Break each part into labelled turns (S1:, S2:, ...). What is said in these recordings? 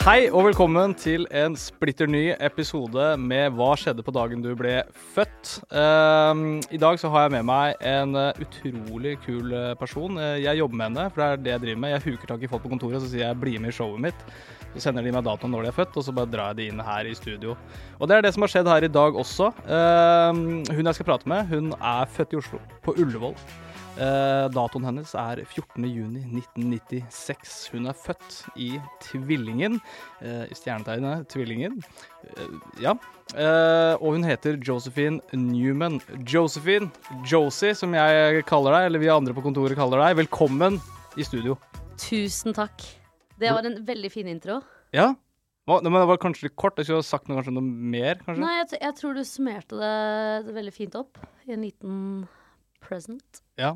S1: Hei og velkommen til en splitter ny episode med Hva skjedde på dagen du ble født. Ehm, I dag så har jeg med meg en eh, utrolig kul eh, person. Eh, Jeg jobber med henne, for det er det jeg driver med. Jeg huker tak i folk på kontoret og så sier jeg 'bli med i showet mitt'. Så sender de meg datoen når de er født, og så bare drar jeg de inn her i studio. Og det er det som har skjedd her i dag også. Ehm, Hun jeg skal prate med, hun er født i Oslo, på Ullevål. Eh, datoen hennes er 14.6.1996. Hun er født i Tvillingen. eh, I stjernetegnet Tvillingen. Eh, ja. Eh, og hun heter Josephine Newman. Josephine, Josie, som jeg kaller deg, eller vi andre på kontoret kaller deg, velkommen i studio.
S2: Tusen takk. Det var en veldig fin intro.
S1: Ja? Hva, nei, men det var kanskje litt kort. Jeg skulle ha sagt noe, kanskje noe mer, kanskje?
S2: Nei, jeg, t- jeg tror du summerte det veldig fint opp i en liten present.
S1: Ja.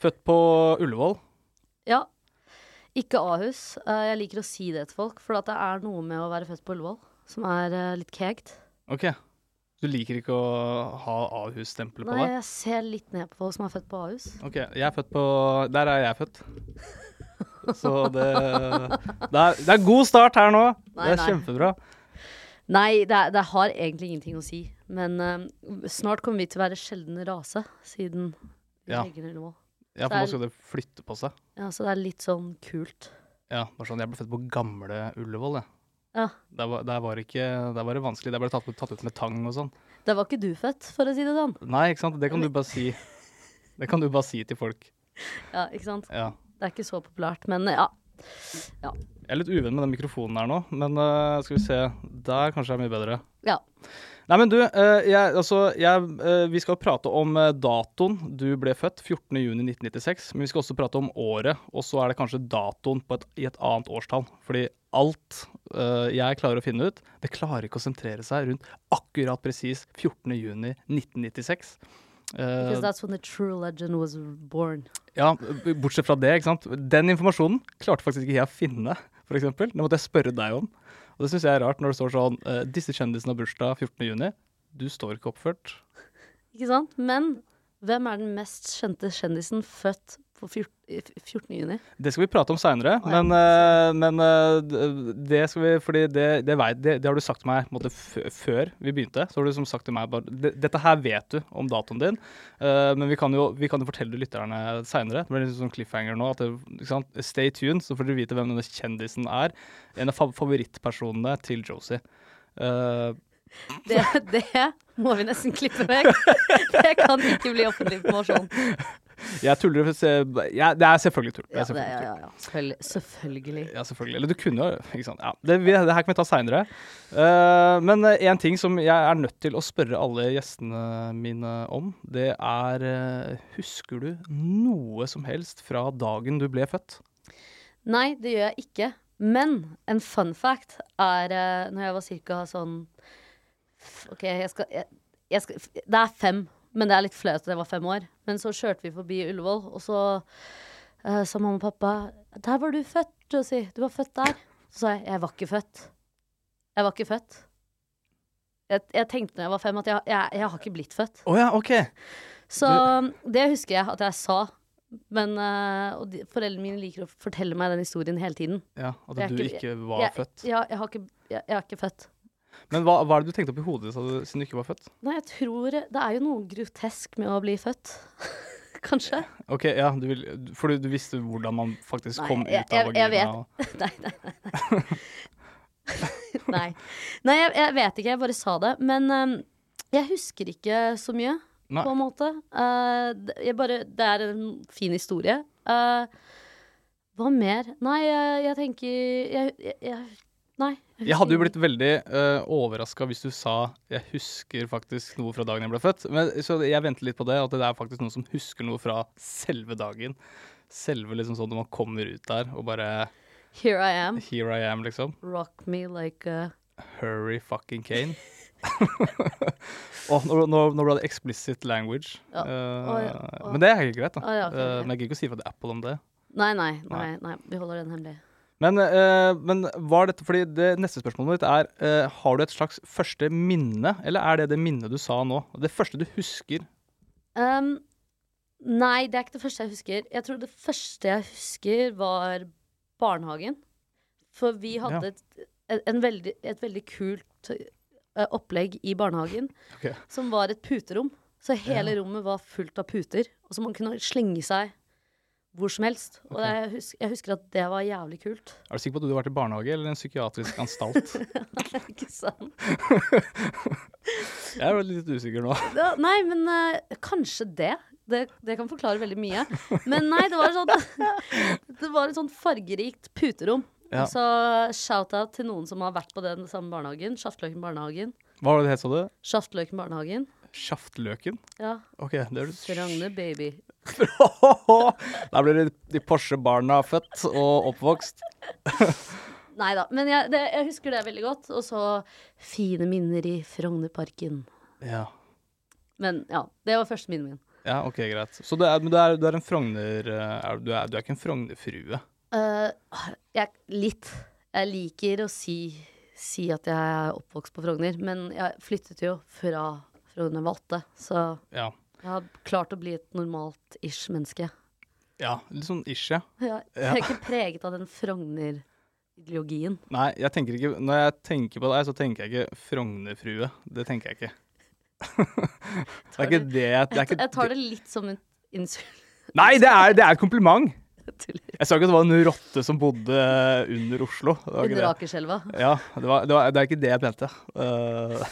S1: Født på Ullevål.
S2: Ja. Ikke Ahus. Eh, Jeg liker å si det til folk, for at det er noe med å være født på Ullevål som er eh, litt kegt.
S1: OK. Du liker ikke å ha Ahus-stempelet på
S2: Nei,
S1: deg?
S2: jeg ser litt ned på folk som er født på Ahus.
S1: Ok, jeg er født på Der er jeg født. Så det Det er, det er god start her nå.
S2: Nei,
S1: det er
S2: nei.
S1: kjempebra.
S2: Nei, det, er- det har egentlig ingenting å si. Men eh, snart kommer vi til å være sjelden rase, siden vi
S1: Ja.
S2: legger ned Ullevål.
S1: Ja, for nå skal det flytte på seg.
S2: Ja, så det er litt sånn kult.
S1: Ja, bare sånn, Jeg ble født på gamle Ullevål. jeg.
S2: Ja.
S1: Der, var, der, var ikke, der var det vanskelig. Der ble det tatt, ut- tatt ut med tang og sånn.
S2: Der var ikke du født, for å si det sånn.
S1: Nei, ikke sant? Det kan du bare si. Det kan du bare si til folk.
S2: Ja, ikke sant?
S1: Ja.
S2: Det er ikke så populært, men ja.
S1: Jeg er litt uvenn med den mikrofonen her nå, men eh, skal vi se. Der kanskje er mye bedre.
S2: ja.
S1: Nei, men du, eh, jeg, altså, jeg, eh, vi skal prate om eh, datoen du ble født, 14.6.1996. Men vi skal også prate om året, og så er det kanskje datoen på et, i et annet årstall. Fordi alt eh, jeg klarer å finne ut, det klarer ikke å sentrere seg rundt akkurat presis 14.6.1996.
S2: Because
S1: Uh,
S2: that's when the true legend was born.
S1: ja, bortsett fra det, ikke sant. Den informasjonen klarte faktisk ikke jeg å finne, f.eks. Det måtte jeg spørre deg om. Og det syns jeg er rart når det står sånn eh, Disse kjendisene har bursdag 14.6. Du står ikke oppført.
S2: Ikke sant? Men hvem er den mest kjente kjendisen født på fjort- i f- 14. juni?
S1: Det skal vi prate om seinere,
S2: Å, ja.
S1: men, eh, men eh, d- det skal vi Fordi det, det, vei- det, det har du sagt til meg på en måte, f før vi begynte. Så har du liksom sagt til meg bare "Det- Dette her vet du om datoen din, eh, men vi kan jo, vi kan jo fortelle lytterne seinere. Det blir litt sånn cliffhanger nå. At det, ikke sant? Stay tuned, så får dere vite hvem denne kjendisen er. En av fa favorittpersonene til Josie. Eh,
S2: Det, det må vi nesten klippe vekk. Det kan ikke bli offentlig informasjon.
S1: jeg tuller for å se jeg, Det er selvfølgelig tull. Det er
S2: Ja, det,
S1: selvfølgelig
S2: ja,
S1: tull.
S2: ja, ja. Selvfølgelig. selvfølgelig.
S1: Ja, selvfølgelig. Eller du kunne jo ikke sant? Ja, det, vi, det her kan vi ta seinere. Eh, men én ting som jeg er nødt til å spørre alle gjestene mine om, det er eh, Husker du noe som helst fra dagen du ble født?
S2: Nei, det gjør jeg ikke. Men en fun fact er eh, når jeg var cirka sånn f- OK, jeg skal, jeg, jeg skal f- Det er fem, men det er litt flaut at jeg var fem år. Men så kjørte vi forbi Ullevål, og så eh, sa mamma og pappa Der var du født, Josie. Du var født der. Så sa jeg jeg var ikke født. Jeg var ikke født. Jeg, jeg tenkte når jeg var fem at jeg, jeg, jeg har ikke blitt født.
S1: Å ja, OK.
S2: Så det husker jeg at jeg sa. Men, eh, og de, foreldrene mine liker å fortelle meg den historien hele tiden.
S1: Ja, At
S2: Jeg er
S1: du
S2: ikke-
S1: ikke var
S2: jeg,
S1: født.
S2: Ja, jeg, har ikke, jeg, jeg er ikke født.
S1: Men hva, hva er det du tenkte opp i hodet ditt sa du, siden du ikke var født?
S2: Nei, jeg tror Det er jo noe grotesk med å bli født. Kanskje?
S1: Ok, ja, du vil, For du, du visste hvordan man faktisk
S2: Nei,
S1: kom ut
S2: jeg-
S1: av
S2: jeg- jeg vet.
S1: og-
S2: Nei, nei, nei. Nei, nei. nei jeg, jeg vet ikke. Jeg bare sa det. Men eh, jeg husker ikke så mye,
S1: Nei.
S2: på en måte. Eh, det- jeg bare, det er en fin historie. Eh, hva mer? Nei, jeg, jeg tenker jeg, jeg, jeg Nei.
S1: Jeg hadde jo blitt veldig uh, overraska hvis du sa 'jeg husker faktisk noe fra dagen jeg ble født'. Men, så jeg venter litt på det, at det er faktisk noen som husker noe fra selve dagen. Selve liksom sånn når man kommer ut der og bare
S2: Here I am.
S1: 'Here I am', liksom.
S2: Rock me like a
S1: Hurry fucking Kane. Åh, nå, nå, nå ble det explicit language.
S2: Ja.
S1: Eh,
S2: Å, ja. Å.
S1: Men det er helt greit, da.
S2: Å, ja, ok,
S1: Eh,
S2: ok.
S1: men jeg gidder ikke å si fra til Apple om det.
S2: Nei, nei, nei. nei. Vi holder den hemmelig.
S1: Men, eh, men var dette fordi det neste spørsmålet mitt er eh, Har du et slags første minne, eller er det det minnet du sa nå? Det første du husker?
S2: Um, nei, det er ikke det første jeg husker. Jeg tror det første jeg husker, var barnehagen. For vi hadde et, en, en veldig, et veldig kult eh, opplegg i barnehagen,
S1: Ok.
S2: som var et puterom. Så hele rommet var fullt av puter, og så man kunne slenge seg hvor som helst. Og
S1: Ok.
S2: jeg, husker, jeg husker at det var jævlig kult.
S1: Er du sikker på at du har vært i barnehage eller en psykiatrisk anstalt?
S2: ikke sant?
S1: jeg er vel litt usikker nå.
S2: Ja, nei, men eh, kanskje det. det. Det kan forklare veldig mye. Men nei, det var sånn Det var et sånn fargerikt puterom.
S1: Ja.
S2: Så shout-out til noen som har vært på den samme barnehagen. Sjaftløken barnehagen.
S1: Hva var det det het, sa du?
S2: Sjaftløken barnehagen.
S1: Sjaftløken?
S2: Ja.
S1: OK, det høres
S2: Ragne baby.
S1: Der blir de, de Porsche-barna født og oppvokst.
S2: Nei da. Men jeg, det, jeg husker det veldig godt. Og så fine minner i Frognerparken.
S1: Ja,
S2: Men ja, det var første minnet min.
S1: ja OK, greit. Så du er, men du er, du er en Frogner... eh, Er, du, er, du er ikke en Frognerfrue?
S2: Eh, jeg, litt. Jeg liker å si, si at jeg er oppvokst på Frogner, men jeg flyttet jo fra Frogner jeg var åtte, så
S1: Ja.
S2: jeg har klart å bli et normalt ish menneske.
S1: ja. Litt sånn ish, ja.
S2: Jeg, jeg er ikke preget av den Frogner-ideologien.
S1: Nei, jeg tenker ikke, når jeg tenker på deg, så tenker jeg ikke Frognerfrue. Det tenker jeg ikke. det er ikke det jeg det er ikke,
S2: Jeg tar det litt som en insult.
S1: Nei, det er, det er et kompliment!
S2: Tuller.
S1: Jeg sa ikke at det var en rotte som bodde under Oslo. Det var ikke
S2: Under
S1: det.
S2: Akerselva.
S1: Ja, det, var, det, var, det er ikke det jeg mente. Eh,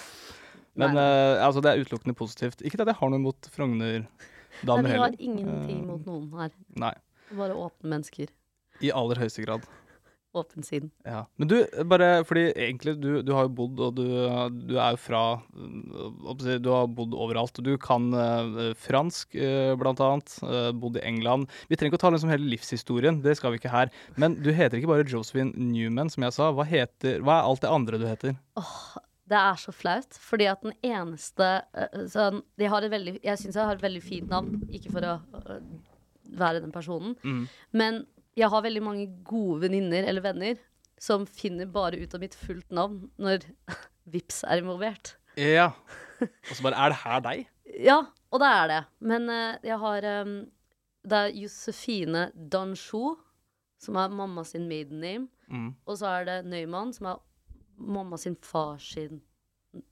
S1: men eh, altså, det er utelukkende positivt. Ikke at jeg har noe imot
S2: Nei,
S1: Frogner-damer
S2: Vi
S1: heller.
S2: har ingenting mot noen her.
S1: Nei,
S2: Bare åpne mennesker.
S1: I aller høyeste grad.
S2: Åpen sinn.
S1: Ja. Men du, bare fordi egentlig du, du har jo bodd, og du, du er jo fra øh, hva skal jeg si, Du har bodd overalt. Du kan øh, fransk, øh, blant annet. øh, bodd i England. Vi trenger ikke å ta liksom hele livshistorien, det skal vi ikke her. Men du heter ikke bare Josephine Newman, som jeg sa. Hva, heter, hva er alt det andre du heter?
S2: Det er så flaut, fordi at den eneste øh, sånn, de har et veldig, Jeg syns jeg har et veldig fint navn, ikke for å øh, være den personen. Men jeg har veldig mange gode venninner eller venner som finner bare ut av mitt fullt navn når VIPS er involvert.
S1: Ja. Og så bare Er det her deg?
S2: Ja, og det er det. Men øh, jeg har øhm, Det er Josefine Danchou, som er mamma sin maiden name.
S1: Mm.
S2: Og så er det Nøyman, som er mamma sin far sin,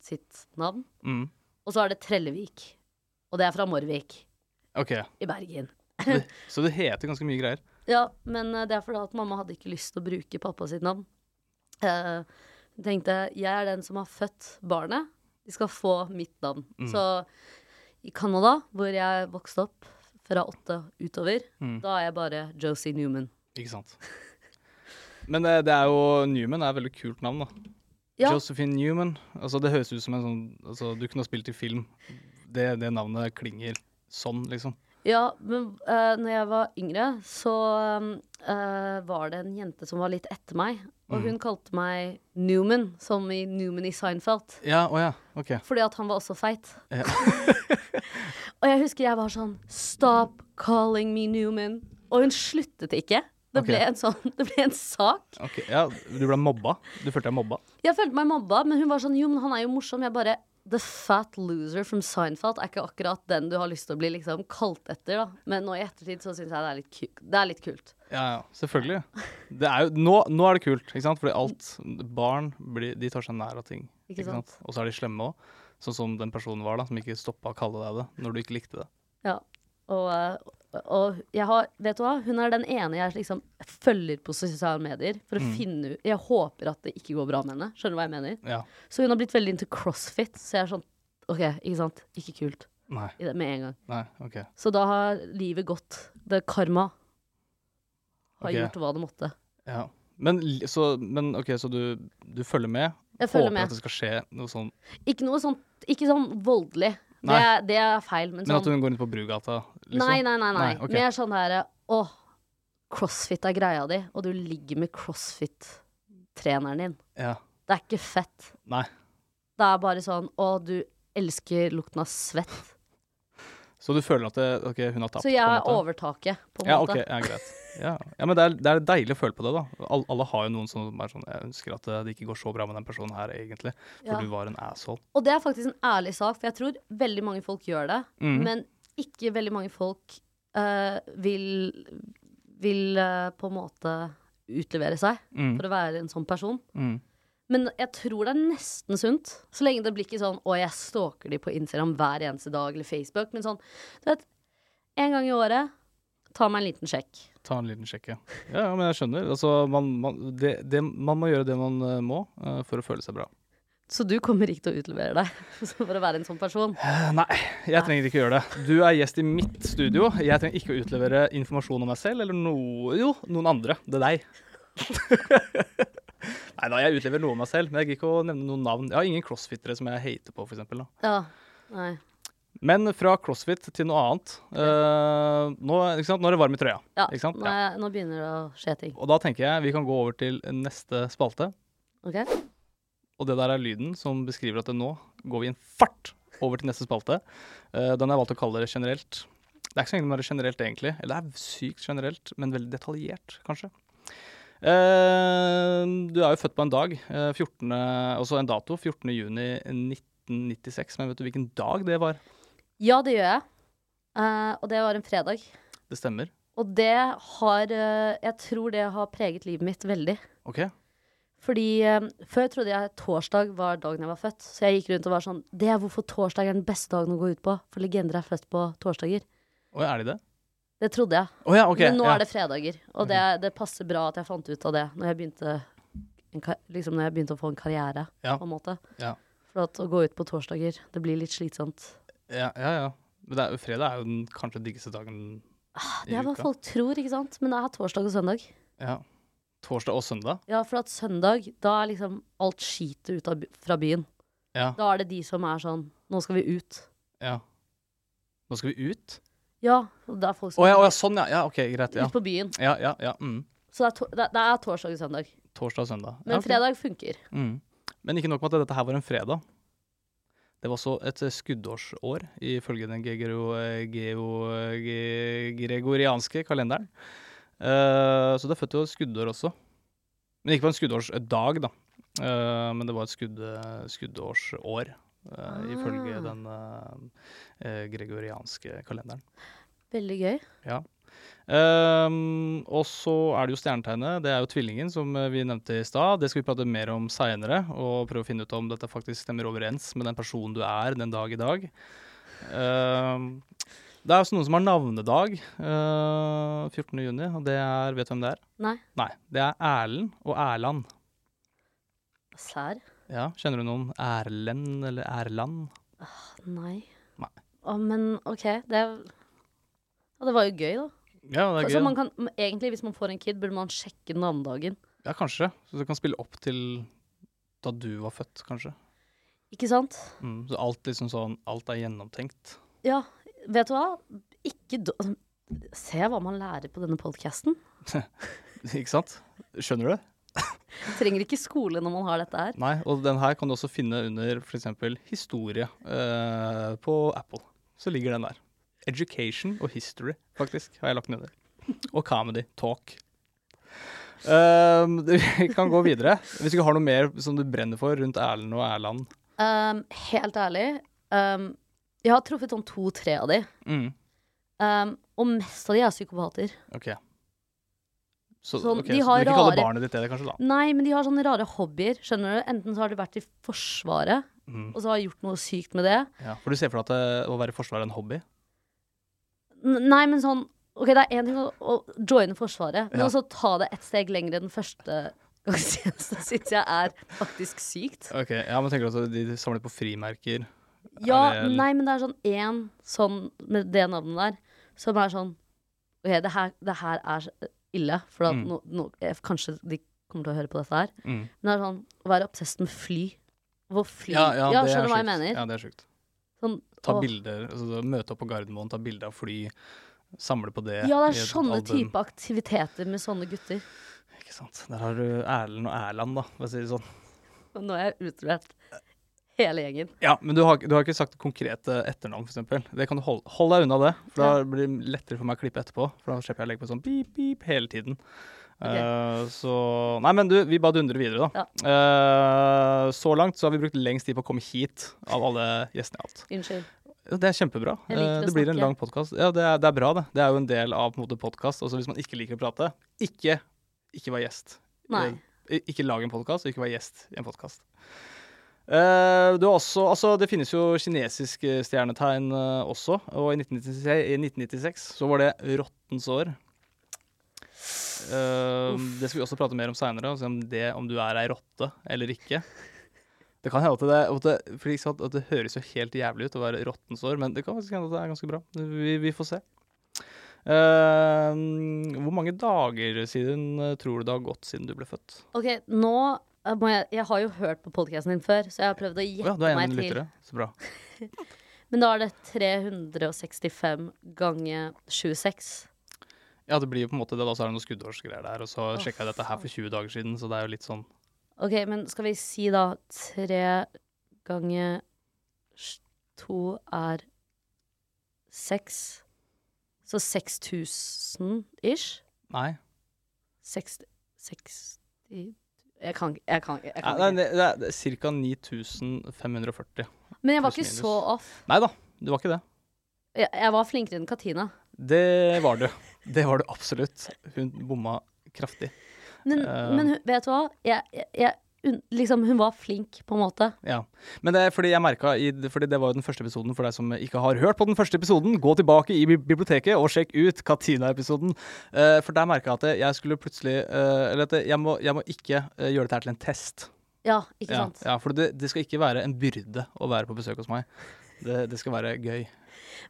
S2: sitt navn.
S1: Mm.
S2: Og så er det Trellevik. Og det er fra Morvik
S1: OK.
S2: i Bergen.
S1: Du- Så du heter ganske mye greier.
S2: Ja, men eh, det er fordi at mamma hadde ikke lyst til å bruke pappa sitt navn. Eh, Hun tenkte jeg er den som har født barnet. De skal få mitt navn. Så i Canada, hvor jeg vokste opp fra åtte utover, da er jeg bare Josie Newman.
S1: Ikke sant. Men eh, det er jo Newman er et veldig kult navn, da.
S2: Ja,
S1: Josephine Newman. Altså, det høres ut som en sånn altså, Du kunne ha spilt i film. Det, det navnet klinger sånn, liksom.
S2: ja men uh, når jeg var yngre, så eh, var det en jente som var litt etter meg. Og hun kalte meg Newman, som i Newman i Seinfeld.
S1: Ja, å ja. OK.
S2: Fordi at han var også feit.
S1: Ja.
S2: og jeg husker jeg var sånn Stop calling me Newman. Og hun sluttet ikke. Det
S1: Ok.
S2: ble, en sånn, det ble en sak.
S1: Ok, ja, Du ble mobba? Du følte deg mobba?
S2: Jeg følte meg mobba, men hun var sånn Jo, men han er jo morsom. Jeg bare The fat loser from Seinfeld er ikke akkurat den du har lyst til å bli liksom kalt etter, da. Men nå i ettertid så syns jeg det er litt, ku det er litt kult.
S1: Ja, ja. Selvfølgelig. Det er jo, nå, nå er det kult, ikke sant? Fordi alt Barn blir, de tar seg nær av ting.
S2: Ikke sant?
S1: Og så er de slemme òg. Sånn som den personen var, da, som ikke stoppa å kalle deg det når du ikke likte det.
S2: Ja. Og, eh, og jeg har, vet du hva? hun er den ene jeg liksom følger på sosiale medier for å finne ut Jeg håper at det ikke går bra med henne. Skjønner du hva jeg mener?
S1: Ja.
S2: Så hun har blitt veldig into crossfit. Så jeg er sånn OK, ikke sant? Ikke kult.
S1: Nei.
S2: I det, med en gang.
S1: Nei, OK.
S2: Så da har livet gått. Det karma har
S1: Ok.
S2: gjort hva det måtte.
S1: Ja. Men, li- så, men OK, så du, du følger med?
S2: Jeg følger
S1: Håper
S2: med.
S1: at det skal skje noe sånn
S2: Ikke noe sånt, ikke sånn voldelig. Det
S1: Nei.
S2: er, det er feil, men
S1: Men at
S2: sånn
S1: hun går inn på Brugata? Liksom.
S2: Nei, nei, nei. nei.
S1: Nei, ok.
S2: Mer sånn her Å, crossfit er greia di, og du ligger med crossfit-treneren din.
S1: Ja.
S2: Det er ikke fett.
S1: Nei.
S2: Det er bare sånn Å, du elsker lukten av svett.
S1: Så du føler at det, ok, hun har tapt?
S2: Så jeg
S1: på en
S2: er
S1: måte.
S2: overtaket, på en
S1: Ja, ok,
S2: måte.
S1: ja, greit. Ja. ja, men det er, det er deilig å føle på det, da. Alle, alle har jo noen som er sånn Jeg ønsker at det ikke går så bra med den personen her, egentlig. For
S2: Ja.
S1: du var en asshole.
S2: Og det er faktisk en ærlig sak, for jeg tror veldig mange folk gjør det.
S1: Mhm.
S2: Men ikke veldig mange folk eh, vil, vil eh, på en måte utlevere seg
S1: Mm,
S2: for å være en sånn person.
S1: mm.
S2: Men jeg tror det er nesten sunt. Så lenge det blir ikke sånn å, jeg stalker de på Instagram hver eneste dag eller Facebook. Men sånn, du vet, en gang i året, ta meg en liten sjekk.
S1: Ta en liten sjekk, ja. Ja, ja, men jeg skjønner. Altså, man, man, det, det, man må gjøre det man eh, må eh, for å føle seg bra.
S2: Så du kommer ikke til å utlevere deg for å være en sånn person.
S1: Eh, Nei, jeg trenger ikke gjøre det. Du er gjest i mitt studio. Jeg trenger ikke å utlevere informasjon om meg selv eller noe Jo, noen andre. Det er deg. Nei da, jeg utleverer noe om meg selv, men jeg gidder ikke å nevne noen navn. Jeg har ingen crossfittere som jeg hater på, for eksempel, da.
S2: Ja, nei.
S1: Men fra crossfit til noe annet. Eh, nå, ikke sant? nå er det varm i trøya.
S2: Ja,
S1: Ikke sant?
S2: Nå,
S1: Ja.
S2: er, nå begynner det å skje ting.
S1: Og da tenker jeg vi kan gå over til neste spalte.
S2: Ok?
S1: Og det der er lyden som beskriver at det nå går vi i en fart over til neste spalte. Eh, den har jeg valgt å kalle det generelt. Det er ikke så egentlig bare generelt, egentlig. Eller det er sykt generelt, men veldig detaljert, kanskje. Eh, du er jo født på en dag, eh, 14, også en dato, 14. juni 1996. Men vet du hvilken dag det var?
S2: Ja, det gjør jeg. Eh, og det var en fredag.
S1: Det stemmer.
S2: Og det har eh, Jeg tror det har preget livet mitt veldig.
S1: OK?
S2: Fordi eh, før trodde jeg torsdag var dagen jeg var født. Så jeg gikk rundt og var sånn Det er hvorfor torsdag er den beste dagen å gå ut på. For legender er født på torsdager.
S1: Oi, er de det?
S2: Det trodde jeg.
S1: Å ja, OK.
S2: Men nå
S1: ja.
S2: er det fredager. Og det, det passer bra at jeg fant ut av det når jeg begynte, en, ka- liksom når jeg begynte å få en karriere,
S1: Ja.
S2: på en måte.
S1: Ja.
S2: For at å gå ut på torsdager, det blir litt slitsomt.
S1: Ja, ja. ja. Men det er, fredag er jo den kanskje diggeste dagen
S2: Ah, Det er hva folk tror, ikke sant. Men det er torsdag og søndag.
S1: Ja. Torsdag og søndag.
S2: Ja, for at søndag, da er liksom alt skitet ut av, by- fra byen.
S1: Ja.
S2: Da er det de som er sånn Nå skal vi ut.
S1: ja. Nå skal vi ut.
S2: Ja, og det er folk
S1: Å
S2: som
S1: ja, å ja, sånn, ja. ja. OK, greit. Ja,
S2: ut på byen.
S1: ja, ja. ja. Mm.
S2: Så det er, to det, det er torsdag og søndag.
S1: Torsdag og søndag.
S2: Men
S1: ja, ok.
S2: fredag funker.
S1: mm. Men ikke nok med at dette her var en fredag. Det var også et eh, skuddårsår, ifølge den gegero, eh, geo, ge, gregorianske kalenderen. Eh, så det er født jo et skuddår også. Men ikke på en skuddårsdag, da. Eh, men det var et skudd, eh, skuddårsår, eh, ifølge
S2: Ah.
S1: den eh, eh, gregorianske kalenderen.
S2: Veldig gøy.
S1: Ehm, og så er det jo stjernetegnet. Det er jo tvillingen, som eh, vi nevnte i stad. Det skal vi prate mer om seinere, og prøve å finne ut om dette faktisk stemmer overens med den personen du er den dag i dag. Ehm, det er også noen som har navnedag eh, 14. juni, og det er Vet du hvem det er?
S2: Nei,
S1: Nei. Det er Erlend og Erland.
S2: sær?
S1: Ja, Kjenner du noen Erlend eller Erland?
S2: Nei.
S1: Nei.
S2: Å, men OK, det er ja, det var jo gøy, da.
S1: Ja, det
S2: Så
S1: er gøy.
S2: man kan, egentlig, hvis man får en kid, burde man sjekke den andre dagen.
S1: Ja, kanskje. Så du kan spille opp til da du var født, kanskje.
S2: Ikke sant?
S1: Mm, så alt liksom sånn Alt er gjennomtenkt.
S2: Ja, vet du hva? Ikke do Se hva man lærer på denne podkasten.
S1: Ikke sant? Skjønner du? det?
S2: Trenger ikke skole når man har dette her.
S1: Nei, og den her kan du også finne under f.eks. historie eh, på Apple. Så ligger den der. Education og history, faktisk, har jeg lagt ned der. Og comedy. Talk. Ehm, vi kan gå videre. Hvis du ikke har noe mer som du brenner for rundt Erlend og Erland.
S2: Um, helt ærlig, um, jeg har truffet sånn to-tre av de.
S1: Mm,
S2: Um, og mest av de er psykopater.
S1: ok. Så,
S2: Sånn,
S1: ok,
S2: de
S1: så
S2: har
S1: du vil ikke kalle
S2: rare-
S1: barnet ditt det, kanskje? da?
S2: Nei, men de har sånne rare hobbyer. Skjønner du? Enten så har de vært i Forsvaret,
S1: Mm,
S2: og så har de gjort noe sykt med det.
S1: ja. For du ser for deg at eh, å være i Forsvaret er en hobby?
S2: N nei, men sånn Ok, det er én ting å, å joine Forsvaret, men
S1: Ja.
S2: også ta det ett steg lenger enn den første gangstjenesten syns jeg er faktisk sykt.
S1: Ok, ja, men tenker du at de samler på frimerker?
S2: Ja,
S1: det-
S2: nei, men det er sånn én sånn med det navnet der, som er sånn Ok, det her, det her er så ille, for at
S1: Mm.
S2: nå- nå- eh, kanskje de kommer til å høre på dette her.
S1: Mm.
S2: Men det er sånn å være obsesst med fly. Hvor fly
S1: Ja, ja, det
S2: skjønner
S1: er
S2: du hva
S1: sjukt.
S2: jeg mener?
S1: Ja, det er sjukt.
S2: Sånn,
S1: Ta
S2: åh.
S1: bilder, altså, møte opp på Gardermoen, ta bilde av fly, samle på det.
S2: Ja, det
S1: i
S2: er
S1: et
S2: sånne
S1: album.
S2: type aktiviteter med sånne gutter.
S1: Ikke sant. Der har du Erlend og Erland, da, for å si det sånn.
S2: Og nå er jeg utrett hele gjengen.
S1: Ja, men du har, du har ikke sagt konkrete etternavn, f.eks. Det kan du holde, hold deg unna det. For da blir det lettere for meg å klippe etterpå. For da slipper jeg å legge på sånn pip, pip hele tiden. Eh, så Nei, men du, vi bare dundrer videre, da. Eh, så langt så har vi brukt lengst tid på å komme hit av alle gjestene jeg har hatt.
S2: Unnskyld.
S1: Ja, Det er kjempebra.
S2: Jeg liker
S1: Eh,
S2: å
S1: det blir en
S2: snakke.
S1: lang podkast. Ja, det er, det er bra, det. Det er jo en del av på en måte, podkast. Altså, hvis man ikke liker å prate, ikke, ikke vær gjest.
S2: Nei.
S1: Eh, ikke lag en podkast, og ikke vær gjest i en podkast. du har også, altså, det finnes jo kinesisk eh, stjernetegn eh, også, og i 1996, i 1996 så var det rottens år. Eh, det skal vi også prate mer om seinere, om, det- om du er ei rotte eller ikke. Det kan hende at det, at det, fordi ikke sant, at det høres jo helt jævlig ut å være rottens år, men det kan faktisk hende at det er ganske bra. Vi, vi får se. Eh, hvor mange dager siden eh, tror du det har gått siden du ble født?
S2: Ok, nå eh, må jeg Jeg har jo hørt på podkasten din før, så jeg har prøvd å
S1: Å ja,
S2: gjette
S1: du er en
S2: meg til.
S1: lyttere. Så bra.
S2: Men da er det 365 ganger 26.
S1: Ja, det blir jo på en måte det, da. Så er det noen skuddårsgreier der. Og så
S2: Å,
S1: sjekka jeg dette her for 20 dager siden, så det er jo litt sånn
S2: Ok, men skal vi si da 3 ganger 2 er 6. Så 6000 ish?
S1: Nei.
S2: 60 60 Jeg kan ikke. Jeg kan, ikke- jeg
S1: Nei,
S2: kan
S1: nei,
S2: ikke.
S1: det er, det er ca. 9540.
S2: Men jeg var ikke
S1: pluss
S2: så
S1: minus.
S2: off.
S1: Nei da, du var ikke det.
S2: Jeg, jeg var flinkere enn Katina.
S1: Det var du. Det var du absolutt. Hun bomma kraftig.
S2: Men,
S1: Eh.
S2: men hun- vet du hva? Jeg, jeg, jeg, hun- liksom, hun var flink, på en måte.
S1: Ja, men det er fordi jeg merket i, Fordi det var jo den første episoden For deg som ikke har hørt på den første episoden Gå tilbake i bi- biblioteket og sjekk ut Katina-episoden Eh, For der merket jeg at jeg skulle plutselig eh, Eller at jeg må, jeg må ikke eh, gjøre dette her til en test
S2: Ja, ikke
S1: ja,
S2: sant?
S1: ja, for det, det skal ikke være en byrde Å være på besøk hos meg Det, det skal være gøy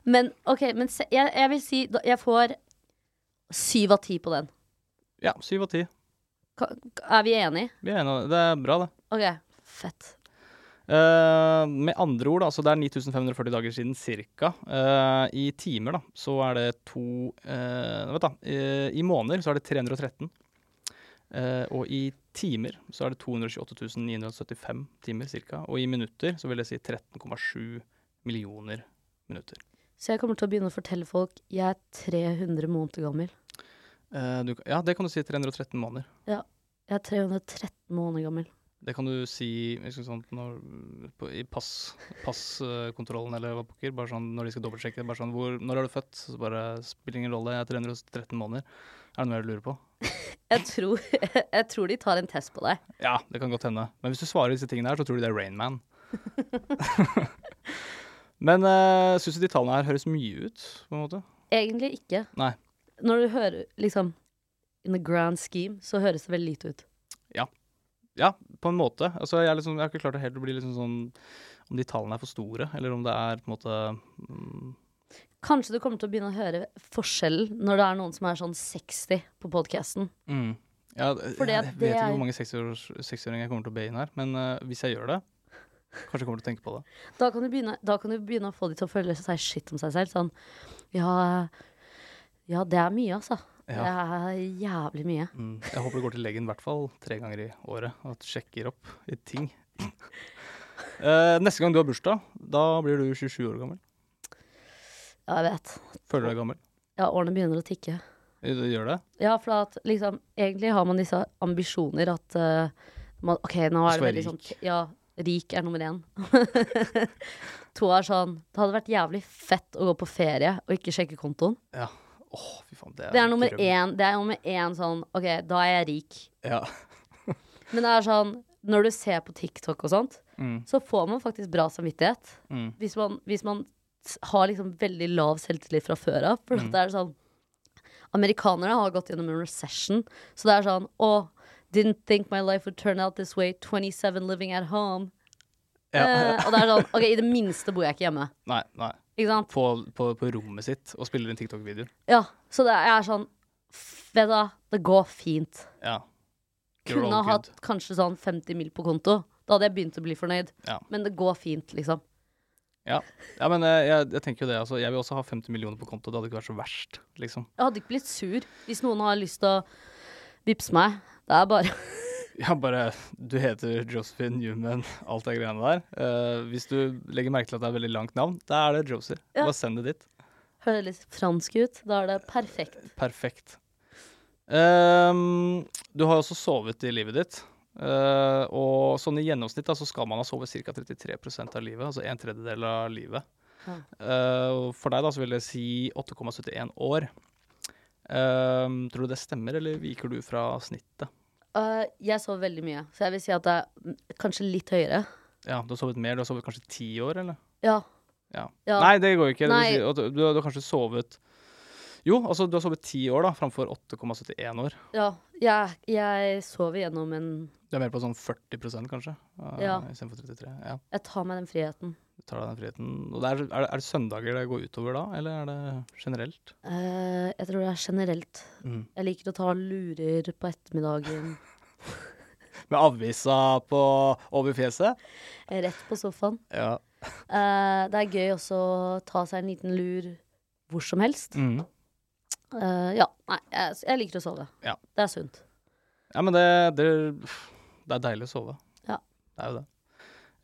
S2: Men ok, men se, jeg, jeg vil si da- jeg får syv av ti på den.
S1: Ja, syv av ti
S2: Ka- Er vi enige?
S1: Vi er enige. Det er bra det
S2: Ok, fett.
S1: Eh, med andre ord, da, så det er 9540 dager siden ca. I timer da, så er det to eh, Vent, da. eh, I måneder så er det 313. Eh, og i timer så er det 228 975 timer ca. Og i minutter så vil det si 13,7 millioner minutter.
S2: Så jeg kommer til å begynne å fortelle folk jeg er 300 måneder gammel.
S1: Eh, du, ja, det kan du si 313 måneder.
S2: Jeg er 313 måneder gammel.
S1: Det kan du si jeg husker sånn, når, på, i pass- passkontrollen eller hva pokker. Bare sånn, når de skal dobbeltsjekke. Bare sånn, hvor, 'Når er du født?' Så bare spiller ingen rolle. Jeg er 313 måneder. Er det noe jeg lurer på?
S2: Jeg tror, jeg tror de tar en test på deg.
S1: Ja, det kan godt hende. Men hvis du svarer disse tingene her, så tror de det er Rainman. Men uh, syns du de tallene her høres mye ut, på en måte?
S2: Egentlig ikke.
S1: Nei.
S2: Når du hører liksom In the grand scheme, så høres det veldig lite ut.
S1: Ja, på en måte. Altså, jeg, er liksom, jeg har ikke klart å helt bli liksom sånn Om de tallene er for store, eller om det er på en måte mm,
S2: Kanskje du kommer til å begynne å høre forskjellen når det er noen som er sånn 60 på podkasten.
S1: Mm. Ja, d-
S2: Fordi
S1: jeg
S2: at
S1: vet
S2: det
S1: ikke
S2: er-
S1: hvor mange 60-års- 60-åringer jeg kommer til å be inn her, men eh, hvis jeg gjør det, kanskje jeg kommer til å tenke på det.
S2: Da kan du begynne, da kan du begynne å få de til å føle seg skitt om seg selv. Sånn Ja, ja det er mye, altså. Det
S1: Ja.
S2: er jævlig mye.
S1: Mm. Jeg håper du går til legen i hvert fall tre ganger i året og at du sjekker opp i ting. Eh, neste gang du har bursdag, da blir du 27 år gammel.
S2: Ja, jeg vet.
S1: Føler du deg gammel?
S2: Ja, årene begynner å tikke.
S1: Eh, du Gjør det?
S2: Ja, for at liksom Egentlig har man disse ambisjoner at eh, man, OK, nå
S1: Du skal
S2: er det
S1: være
S2: veldig sånn
S1: rik.
S2: Ja, rik er nummer én. to er sånn Det hadde vært jævlig fett å gå på ferie og ikke sjekke kontoen.
S1: Ja. Åh, fy faen. Det er,
S2: Det er nummer
S1: drøm.
S2: én. Det er nummer én sånn OK, da er jeg rik.
S1: Ja.
S2: Men det er sånn Når du ser på TikTok og sånt,
S1: Mm,
S2: så får man faktisk bra samvittighet.
S1: mm.
S2: Hvis man, hvis man s- har liksom veldig lav selvtillit fra før av.
S1: Mm.
S2: For at det er sånn Amerikanerne har gått gjennom en recession, så det er sånn Å, didn't think my life would turn out this way. 27 living at home.
S1: Ja.
S2: Eh, og det er sånn OK, i det minste bor jeg ikke hjemme.
S1: Nei, nei.
S2: Ikke sant?
S1: På, på, på rommet sitt og spiller en TikTok-video.
S2: Ja, så det er sånn f- Vet du hva, det går fint.
S1: Ja. your
S2: kunne
S1: own
S2: ha hatt
S1: good.
S2: kanskje sånn 50 mil på konto. Da hadde jeg begynt å bli fornøyd.
S1: Ja.
S2: Men det går fint, liksom.
S1: Ja, ja men eh, jeg, jeg tenker jo det. Altså, jeg vil også ha 50 millioner på konto. Det hadde ikke vært så verst, liksom.
S2: Jeg hadde ikke blitt sur hvis noen har lyst til å vippse meg. Det er bare
S1: Ja, bare Du heter Josephine Newman, alt det greiene der. Eh, hvis du legger merke til at det er veldig langt navn, da er det Josie.
S2: Ja.
S1: Bare send det dit.
S2: Hører litt fransk ut. Da er det perfekt.
S1: Perfekt. Ehm, du har også sovet i livet ditt. Eh, og sånn i gjennomsnitt da, så skal man ha sovet ca. 33 av livet, altså en tredjedel av livet.
S2: Ja.
S1: Eh, og for deg da så vil jeg si 8,71 år. Ehm, tror du det stemmer, eller viker du fra snittet?
S2: Øh, jeg sover veldig mye, så jeg vil si at det er mm, kanskje litt høyere.
S1: Ja, Du har sovet mer, du har sovet kanskje ti år, eller?
S2: Ja.
S1: Ja.
S2: Ja.
S1: Nei, det går jo ikke. Det
S2: Nei.
S1: vil si at Du, du har kanskje sovet Jo, altså du har sovet ti år da, framfor 8,71 år.
S2: ja. Jeg, jeg sover gjennom en
S1: Du er mer på sånn 40 kanskje, eh,
S2: Ja.
S1: istedenfor 33 Ja.
S2: Jeg tar meg den friheten.
S1: Du tar deg den friheten. Og det er, er, det, er det søndager det går utover da, eller er det generelt?
S2: Eh, jeg tror det er generelt.
S1: Mm.
S2: Jeg liker å ta lurer på ettermiddagen.
S1: Med avisa på over fjeset?
S2: Rett på sofaen.
S1: Ja.
S2: Eh, det er gøy også å ta seg en liten lur hvor som helst.
S1: Mm.
S2: Eh, ja. Nei, jeg, jeg liker å sove.
S1: Ja.
S2: Det er sunt.
S1: Ja, men det, det, det er deilig å sove.
S2: Ja.
S1: Det er jo det.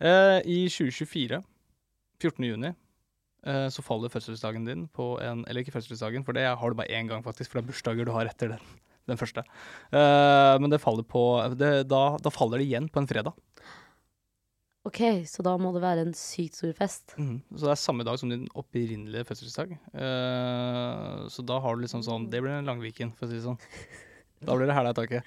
S1: Eh, I 2024, 14. juni, eh, så faller fødselsdagen din på en Eller ikke fødselsdagen, for det har du bare én gang, faktisk, for det er bursdager du har etter den, den første. Eh, men det faller på det, da, da faller det igjen på en fredag.
S2: Ok, så da må det være en sykt stor fest.
S1: Mhm. Så det er samme dag som din opprinnelige fødselsdag. Eh, så da har du liksom sånn Det blir en langviken, for å si det sånn. Da blir det hæla i taket.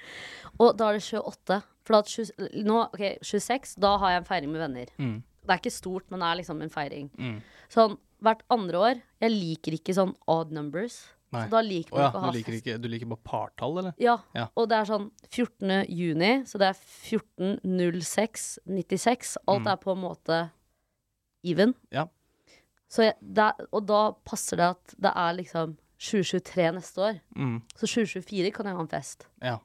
S2: Og da er det 28. For da, er det 20, nå, ok, 26, da har jeg en feiring med venner.
S1: Mm.
S2: Det er ikke stort, men det er liksom en feiring.
S1: Mm.
S2: Sånn hvert andre år Jeg liker ikke sånn odd numbers.
S1: Nei.
S2: Så da liker
S1: Å ja,
S2: man ikke å
S1: du
S2: ha
S1: liker,
S2: fest.
S1: ikke, du liker bare partall, eller?
S2: Ja.
S1: Ja.
S2: Og det er sånn 14. juni, så det er 14.06.96. Alt
S1: Mm.
S2: er på en måte even.
S1: Ja.
S2: Så jeg, det er, og da passer det at det er liksom 2023 neste år.
S1: Mm.
S2: Så 2024 kan jeg ha en fest.
S1: Ja.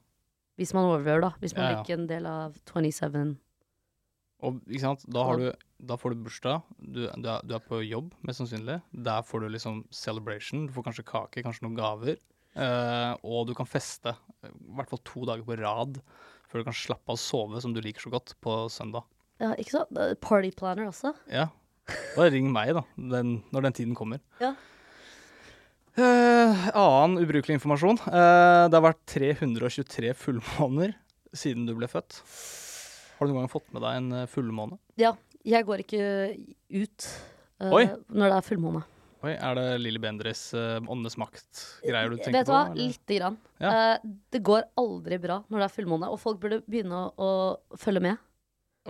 S2: Hvis man overlever, da. Hvis man
S1: Ja,
S2: er
S1: ja.
S2: ikke en del av 27.
S1: Og ikke sant, da, har du, da får du bursdag, du, du, er, du er på jobb, mest sannsynlig. Der får du liksom celebration, du får kanskje kake, kanskje noen gaver. eh, og du kan feste eh, i hvert fall to dager på rad før du kan slappe av og sove, som du liker så godt, på søndag.
S2: Ja, ikke sant? Det er Party planner også.
S1: Ja. Bare ring meg, da, den, når den tiden kommer.
S2: Ja.
S1: Eh, annen ubrukelig informasjon. Eh, det har vært 323 fullmåner siden du ble født. Har du noen gang fått med deg en eh, fullmåne?
S2: Ja. Jeg går ikke ut eh,
S1: Oi.
S2: når det er fullmåne.
S1: Oi, Er det Lilly Bendres eh, Åndenes makt-greier du tenker
S2: Eh, Vet du
S1: på?
S2: hva?
S1: eller?
S2: Lite grann.
S1: Ja.
S2: Eh, det går aldri bra når det er fullmåne, og folk burde begynne å, å følge med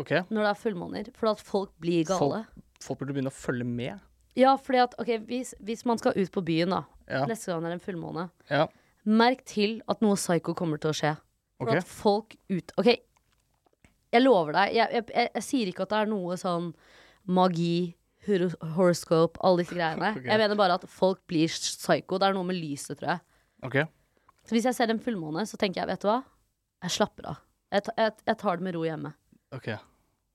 S1: Ok,
S2: når det er fullmåner, for at folk blir gale.
S1: Folk burde begynne å følge med.
S2: Ja, fordi at, ok, hvis, hvis man skal ut på byen da,
S1: Ja.
S2: neste gang det er en fullmåne,
S1: ja.
S2: merk til at noe psycho kommer til å skje. For
S1: Ok.
S2: at folk ut... Ok, jeg lover deg, jeg, jeg, jeg, jeg sier ikke at det er noe sånn magi, horo- horoscope, alle disse greiene.
S1: Ok.
S2: Jeg mener bare at folk blir psycho. Det er noe med lyset, tror jeg.
S1: Ok.
S2: Så hvis jeg ser en fullmåne, så tenker jeg, vet du hva? Jeg slapper av. Jeg, ta, jeg, jeg tar det med ro hjemme.
S1: ok. Ok,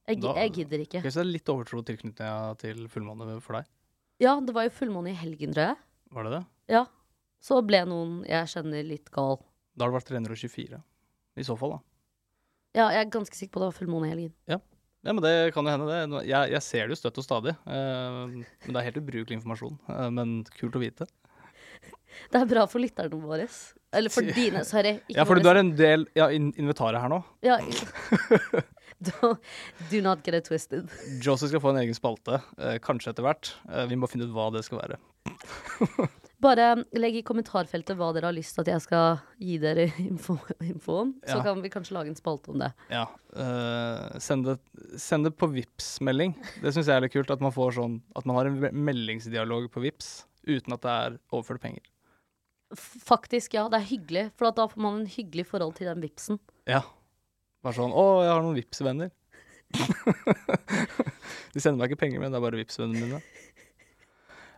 S2: Jeg, gi-
S1: Da-
S2: jeg gidder ikke.
S1: Så det er litt overtro tilknytninga til fullmåne for deg?
S2: Ja, det var jo fullmåne i helgen, tror jeg.
S1: Var det det?
S2: Ja. Så ble noen jeg kjenner litt gal.
S1: Da har det vært 324. I så fall, da.
S2: Ja, jeg er ganske sikker på det var fullmåne i helgen.
S1: Ja, men Det kan jo hende, det. Nå- Jeg, jeg ser det jo støtt og stadig. eh, men det er helt ubrukelig informasjon. eh, men kult å vite.
S2: Det er bra for lytterne våre. Eller for dine, sorry. Ikke
S1: Ja, fordi du er
S2: våres.
S1: en del ja, in inventaret her nå.
S2: Ja. Do, do not get it twisted.
S1: Josie skal få en egen spalte, eh, kanskje etter hvert. Eh, vi må finne ut hva det skal være.
S2: Bare um, legg i kommentarfeltet hva dere har lyst til at jeg skal gi dere info, info om. Så
S1: Ja.
S2: kan vi kanskje lage en spalte om det.
S1: Ja, eh, send, det, send det på vips melding Det syns jeg er litt kult. At man, får sånn, at man har en me- meldingsdialog på Vips uten at det er overført penger.
S2: F faktisk, ja. Det er hyggelig. For at da får man en hyggelig forhold til den vipsen.
S1: Ja. Bare sånn 'Å, jeg har noen Vipps-venner'. De sender meg ikke penger, men det er bare Vipps-vennene mine.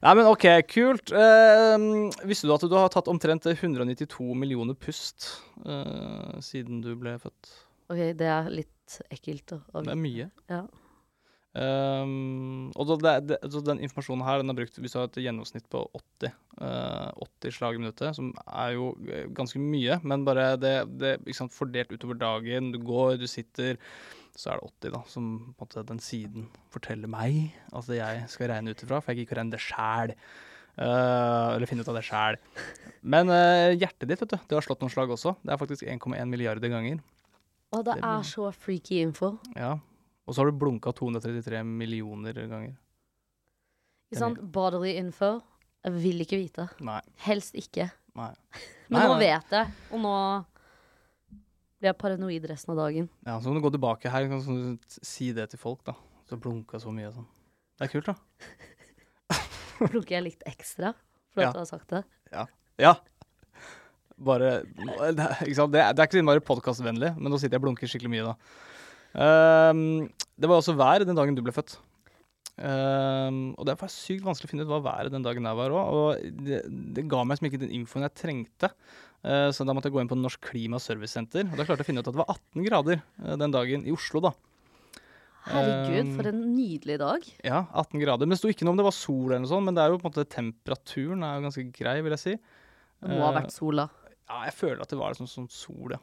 S1: Nei, men OK, kult. Eh, visste du at du har tatt omtrent 192 millioner pust eh, siden du ble født?
S2: Ok, det er litt ekkelt. å- å-
S1: Det er mye.
S2: Ja.
S1: Ehm, og da, det, det, så den informasjonen her den er brukt hvis du har et gjennomsnitt på 80, eh, 80 slag i minuttet, som er jo eh, ganske mye, men bare det, det ikke sant, fordelt utover dagen. Du går, du sitter, så er det 80, da, som på en måte den siden forteller meg at jeg skal regne ut ifra, for jeg gikk ikke regne det sjæl. Eh, eller finne ut av det sjæl. Men eh, hjertet ditt vet du, det har slått noen slag også. Det er faktisk 1,1 milliarder ganger.
S2: Å, det
S1: Det blir-
S2: er så freaky info.
S1: Ja. Og så har du blunka 233 millioner ganger.
S2: Ikke sant? Bodily info. Jeg vil ikke vite.
S1: Nei.
S2: Helst ikke.
S1: Nei.
S2: Men
S1: Nei,
S2: nå
S1: nei.
S2: vet jeg, og nå blir jeg paranoid resten av dagen.
S1: Ja, så kan du gå tilbake her og sånn, si det til folk, da. Så blunka så mye og sånn. Det er kult, da.
S2: Plunker jeg litt ekstra for
S1: Ja.
S2: at du har sagt det?
S1: Ja. Bare det, er- ikke sant? Det, er, det er ikke sånn bare podkastvennlig, men nå sitter jeg og blunker skikkelig mye, da. Ehm, det var også vær den dagen du ble født. Ehm, og det er faktisk sykt vanskelig å finne ut hva været den dagen der var òg. Og det, det ga meg som ikke den infoen jeg trengte. Eh, så da måtte jeg gå inn på Norsk Klima Servicesenter. Og da klarte jeg å finne ut at det var 18 grader eh, den dagen i Oslo, da.
S2: Herregud,
S1: Um,
S2: for en nydelig dag.
S1: Ja, 18 grader. Men det sto ikke noe om det var sol eller noe sånt, men det er jo på en måte temperaturen er jo ganske grei, vil jeg si.
S2: Det må ha
S1: eh,
S2: vært sola.
S1: Ja, jeg føler at det var sånn, sånn sol, ja.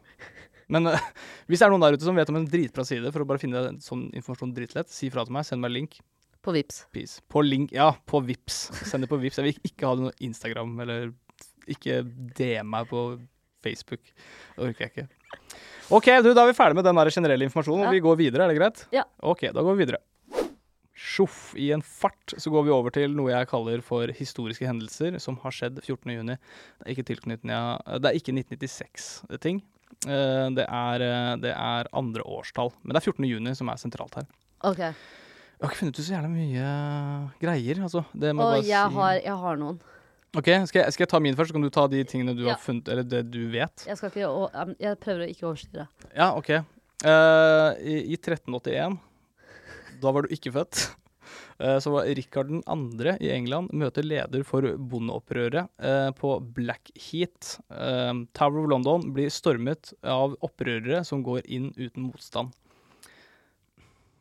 S1: Men eh, hvis det er noen der ute som vet om en dritbra side for å bare finne sånn informasjon dritlett, si fra til meg, send meg link.
S2: På Vips.
S1: Peace. På link, ja, på Vips. Send det på Vips. Jeg vil ikke- ikke ha det noe Instagram, eller ikke DM meg på Facebook. Det orker jeg ikke. Ok, du, da er vi ferdig med den der generelle informasjonen, og
S2: Ja.
S1: vi går videre, er det greit?
S2: Ja.
S1: Ok, da går vi videre. Sjoff, i en fart så går vi over til noe jeg kaller for historiske hendelser som har skjedd 14. juni. Det er ikke tilknytning- det er ikke 1996-ting. Det er, eh, det er andre årstall, men det er 14. juni som er sentralt her.
S2: OK.
S1: Jeg har ikke funnet ut så jævla mye greier, altså. Det må
S2: Og
S1: jeg bare
S2: jeg
S1: si.
S2: har, jeg har noen.
S1: Ok, skal jeg, skal jeg ta min først, så kan du ta de tingene du
S2: Ja.
S1: har funnet, eller det du vet?
S2: Jeg, skal ikke, å- em, jeg prøver å ikke overstyre.
S1: Ja, ok. Eh, i, I 1381, da var du ikke født, eh, så var Rikard 2. i England møter leder for bondeopprøret eh, på Blackheath. Eh, Tower of London blir stormet av opprørere som går inn uten motstand.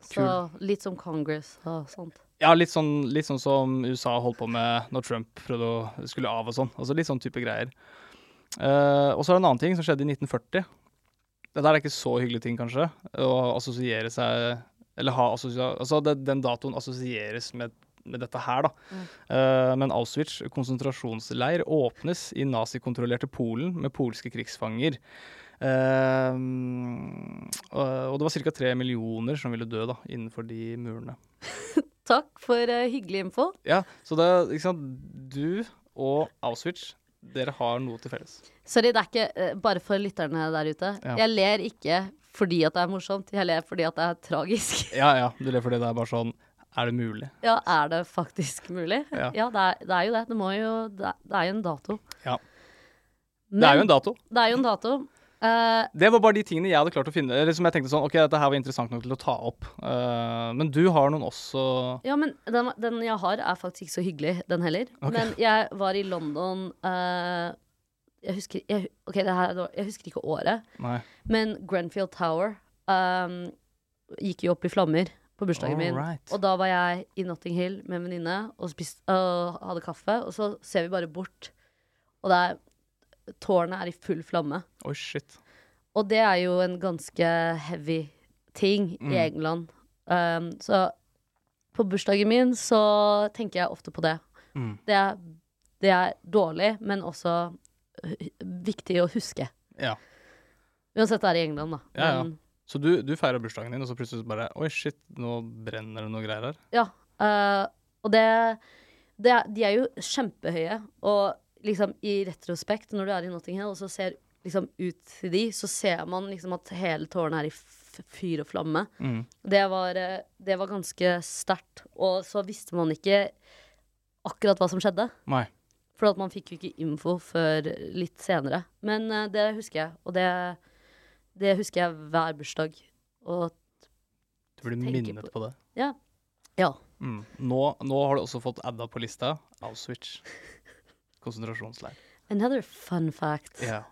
S2: Så litt som Congress og sånt.
S1: Ja, litt sånn, litt sånn som USA holdt på med når Trump prøvde å skulle av og sånn. Altså litt sånn type greier. Eh, og så er det en annen ting som skjedde i 1940. Dette er ikke så hyggelig ting, kanskje, å assosiere seg Eller ha assosia... Altså det, den datoen assosieres med, med dette her, da. Eh, men Auschwitz konsentrasjonsleir åpnes i nazikontrollerte Polen med polske krigsfanger. Eh, og og det var ca. tre millioner som ville dø da, innenfor de murene.
S2: Takk for eh, hyggelig info.
S1: Ja, så det er ikke sant Du og Auschwitz, dere har noe til felles.
S2: Sorry, det er ikke eh, bare for lytterne der ute.
S1: Ja.
S2: Jeg ler ikke fordi at det er morsomt, jeg ler fordi at det er tragisk.
S1: Ja, ja, du ler fordi det er bare sånn Er det mulig?
S2: Ja, er det faktisk mulig?
S1: Ja.
S2: Ja, det, er, det er jo det. Det, må jo, det, er, det er jo en dato.
S1: Ja.
S2: Men
S1: det er jo en dato.
S2: det er jo en dato. Eh,
S1: Det var bare de tingene jeg hadde klart å finne. Eller som jeg tenkte sånn, ok, dette her var interessant nok til å ta opp. Eh, men du har noen også
S2: ja, men den, den jeg har, er faktisk ikke så hyggelig, den heller.
S1: Ok.
S2: Men jeg var i London eh, jeg, husker, jeg, ok, det her, jeg husker ikke året,
S1: Nei.
S2: men Grenfield Tower ehm, gikk jo opp i flammer på bursdagen min.
S1: Alright.
S2: Og da var jeg i Notting Hill med en venninne og spist, øh, hadde kaffe. Og så ser vi bare bort, og det er, tårnet er i full flamme.
S1: Oi, shit.
S2: Og det er jo en ganske heavy ting
S1: Mm.
S2: i England. Um, så på bursdagen min så tenker jeg ofte på det.
S1: Mm.
S2: Det, er, det er dårlig, men også øh, viktig å huske.
S1: Ja.
S2: Uansett det er i England, da.
S1: Ja, ja.
S2: Men-
S1: Så du, du feirer bursdagen din, og så plutselig bare Oi, shit, nå brenner det noe greier her.
S2: Ja. eh, og det, det er- De er jo kjempehøye. Og liksom i retrospekt, når du er i Notting Hill og så ser liksom ut til de, så ser man liksom at hele tårnet er i f fyr og flamme.
S1: Mm.
S2: Det var, eh, det var ganske sterkt. Og så visste man ikke akkurat hva som skjedde.
S1: Nei.
S2: For at man fikk jo ikke info før litt senere. Men eh, det husker jeg. Og det, det husker jeg hver bursdag. Og
S1: Du blir
S2: Tenker
S1: minnet
S2: på-
S1: på det.
S2: ja. Ja.
S1: Mm. Nå, nå har du også fått adda på lista Auschwitz. Konsentrasjonsleir.
S2: Another fun fact.
S1: Ja.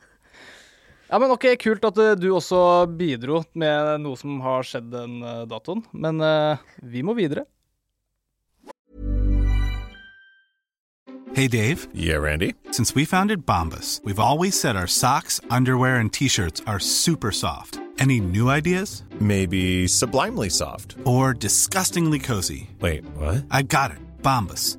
S1: ja, men ok, kult at eh, du også bidro med noe som har skjedd den eh, datoen. Men eh, vi må videre.
S3: Hey Dave,
S4: Yeah, Randy.
S3: since we founded Bombus, we've always said our socks, underwear, and t shirts are super soft. Any new ideas?
S4: Maybe sublimely soft.
S3: Or disgustingly cozy?
S4: Wait, what?
S3: I got it, Bombus.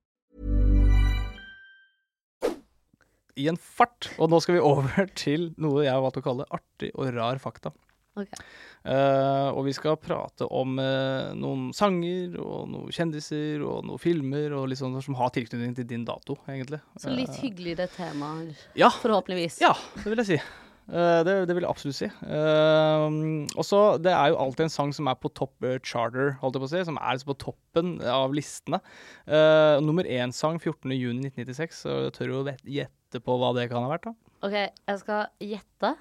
S1: I en fart. Og nå skal vi over til noe jeg har valgt å kalle artig og rar fakta.
S2: Ok.
S1: Eh, og vi skal prate om eh, noen sanger og noen kjendiser og noen filmer og litt sånn som har tilknytning til din dato, egentlig.
S2: Så litt
S1: Eh,
S2: hyggeligere temaer,
S1: ja,
S2: forhåpentligvis.
S1: ja, det vil jeg si. Eh, det, det vil jeg absolutt si. Eh, og så, Det er jo alltid en sang som er på topp eh, charter, holdt jeg på å si, som er liksom på toppen av listene. Eh, nummer én-sang 14.6.1996, så jeg tør jo vet- gjette på hva det kan ha vært. da.
S2: Ok, jeg skal gjette.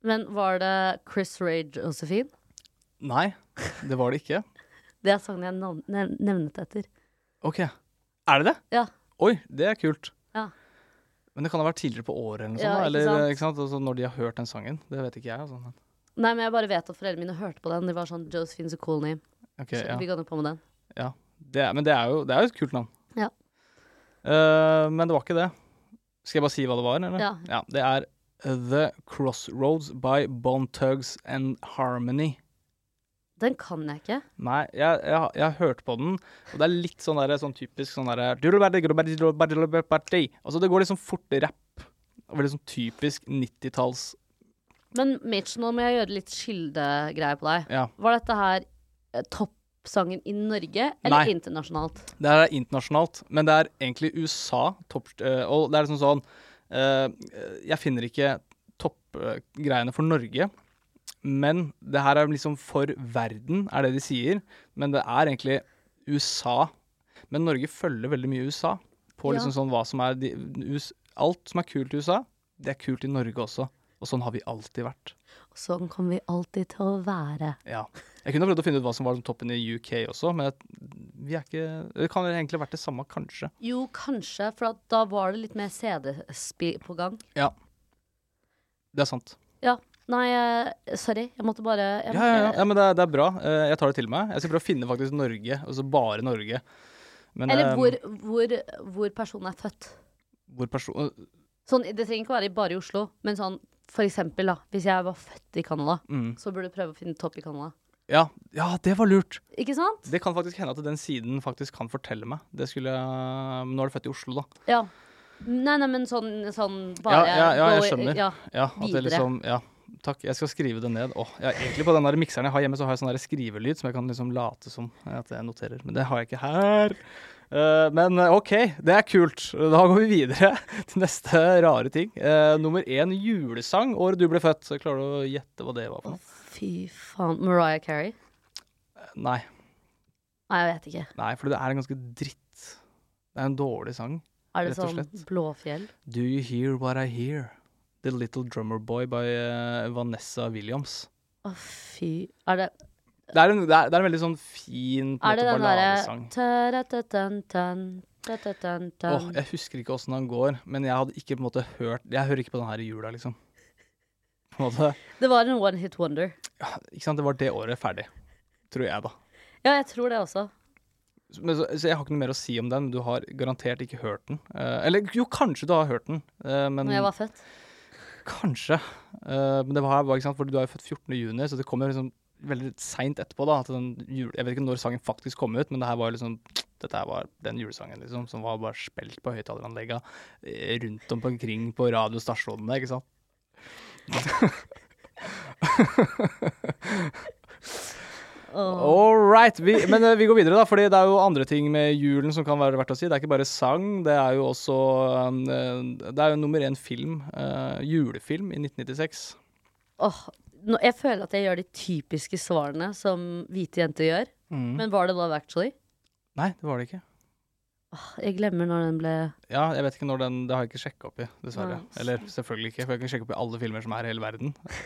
S2: Men var det Chris Ray Josephine?
S1: Nei, det var det ikke.
S2: Det er sangen jeg nav- nev nevnet etter.
S1: Ok, Er det det?
S2: Ja.
S1: Oi, det er kult.
S2: Ja.
S1: Men det kan ha vært tidligere på året eller noe
S2: Ja,
S1: sånt. da,
S2: ikke
S1: Eller,
S2: sant?
S1: Ikke sant? Altså, når de har hørt den sangen. Det vet ikke jeg. Altså. men-
S2: Nei, men jeg bare vet at foreldrene mine hørte på den. De var sånn Josephine's a cool name.
S1: Ok,
S2: Så vi
S1: ja.
S2: kan jo på med den.
S1: Ja. Det er, men det er, jo, det er jo et kult navn.
S2: Ja.
S1: Eh, men det var ikke det. Skal jeg bare si hva det var? Eller?
S2: Ja.
S1: Det er The Crossroads by Bon Tugs and Harmony.
S2: Den kan jeg ikke.
S1: Nei, jeg, jeg, jeg har hørt på den, og det er litt sånn, der, sånn typisk sånn derre Altså, det går liksom fort rapp. Og Veldig sånn typisk 90-talls
S2: Men Mitch, nå må jeg gjøre litt skyldegreier på deg.
S1: Ja.
S2: Var dette her eh, toppsangen i Norge, eller
S1: Nei.
S2: internasjonalt?
S1: Det her er internasjonalt, men det er egentlig USA. Topp, eh, og det er liksom sånn eh, Jeg finner ikke toppgreiene for Norge, men det her er liksom for verden, er det de sier. Men det er egentlig USA. Men Norge følger veldig mye USA. På
S2: Ja.
S1: liksom sånn hva som er de, US, Alt som er kult i USA, det er kult i Norge også. Og sånn har vi alltid vært.
S2: Sånn kommer vi alltid til å være.
S1: Ja. Jeg kunne ha prøvd å finne ut hva som var den toppen i UK også, men vi er ikke, det kan egentlig ha vært det samme, kanskje.
S2: Jo, kanskje, for at da var det litt mer CD-spill på gang.
S1: Ja. Det er sant.
S2: Ja. Nei, eh, sorry. Jeg måtte bare jeg,
S1: Ja, ja, ja. ja men det er, det er bra. Eh, Jeg tar det til meg. Jeg skal prøve å finne faktisk Norge, altså bare Norge. Men,
S2: Eller
S1: eh,
S2: hvor, hvor, hvor personen er født.
S1: hvor eh, person...
S2: Sånn, det trenger ikke være i- bare i Oslo, men sånn for eksempel, da, hvis jeg var født i Canada,
S1: Mm.
S2: så burde du prøve å finne topp i Canada.
S1: Ja, ja, det var lurt.
S2: Ikke sant?
S1: Det kan faktisk hende at den siden faktisk kan fortelle meg. Det skulle jeg... Nå er du født i Oslo, da.
S2: Ja. Nei, nei, men sånn, sånn
S1: Ja,
S2: bare
S1: ja, ja
S2: gå
S1: jeg
S2: i-
S1: skjønner.
S2: Ja.
S1: Ja, at det
S2: videre.
S1: liksom, ja. Takk, jeg skal skrive det ned. Åh, ja, egentlig på den der mikseren jeg har hjemme, så har jeg sånn der skrivelyd som jeg kan liksom late som at jeg noterer. Men det har jeg ikke her. Eh, men eh, OK, det er kult. Da går vi videre til neste rare ting. Eh, nummer én julesang året du ble født. Så Klarer du å gjette hva det var for noe?
S2: Fy faen. Mariah Carey?
S1: Nei,
S2: Nei, jeg vet ikke.
S1: nei, for det er en ganske dritt Det er en dårlig sang.
S2: Er det
S1: Rett og
S2: sånn
S1: slett.
S2: Blåfjell?
S1: Do you hear what I hear? The Little Drummer Boy by eh, Vanessa Williams.
S2: Å, fy. Er det,
S1: Det er en, det er, det er en veldig sånn fin på en
S2: er det
S1: måte,
S2: den
S1: balladesang.
S2: derre
S1: Åh, jeg husker ikke åssen han går, men jeg hadde ikke på en måte hørt Jeg hører ikke på den her i jula, liksom. På en måte,
S2: Det var en one hit wonder.
S1: ikke sant? Det var det året ferdig. Tror jeg, da.
S2: Ja, jeg tror det også.
S1: Så- Men, så, så jeg har ikke noe mer å si om den. men Du har garantert ikke hørt den. Eh, eller jo, kanskje du har hørt den, eh, men
S2: Når jeg var født.
S1: kanskje. Eh, men det var, var ikke sant, for du er jo født 14. juni, så det kommer liksom veldig seint etterpå, da, at den jul, jeg vet ikke når sangen faktisk kom ut, men det her var jo liksom dette her var den julesangen liksom, som var bare spilt på høyttaleranleggene eh, rundt om på- omkring på radiostasjonene, ikke sant? All right. Vi, men eh, vi går videre, da, fordi det er jo andre ting med julen som kan være verdt å si. Det er ikke bare sang, det er jo også um, eh, Det er jo nummer én film, eh, julefilm, i 1996.
S2: Åh, nå, jeg føler at jeg gjør de typiske svarene som hvite jenter gjør. Men var det Love Actually?
S1: Nei, det var det ikke.
S2: Jeg glemmer når den ble
S1: Ja, jeg vet ikke når den Det har jeg ikke sjekka opp i, dessverre.
S2: Nei.
S1: Eller selvfølgelig ikke, for jeg kan ikke sjekke opp i alle filmer som er i hele verden.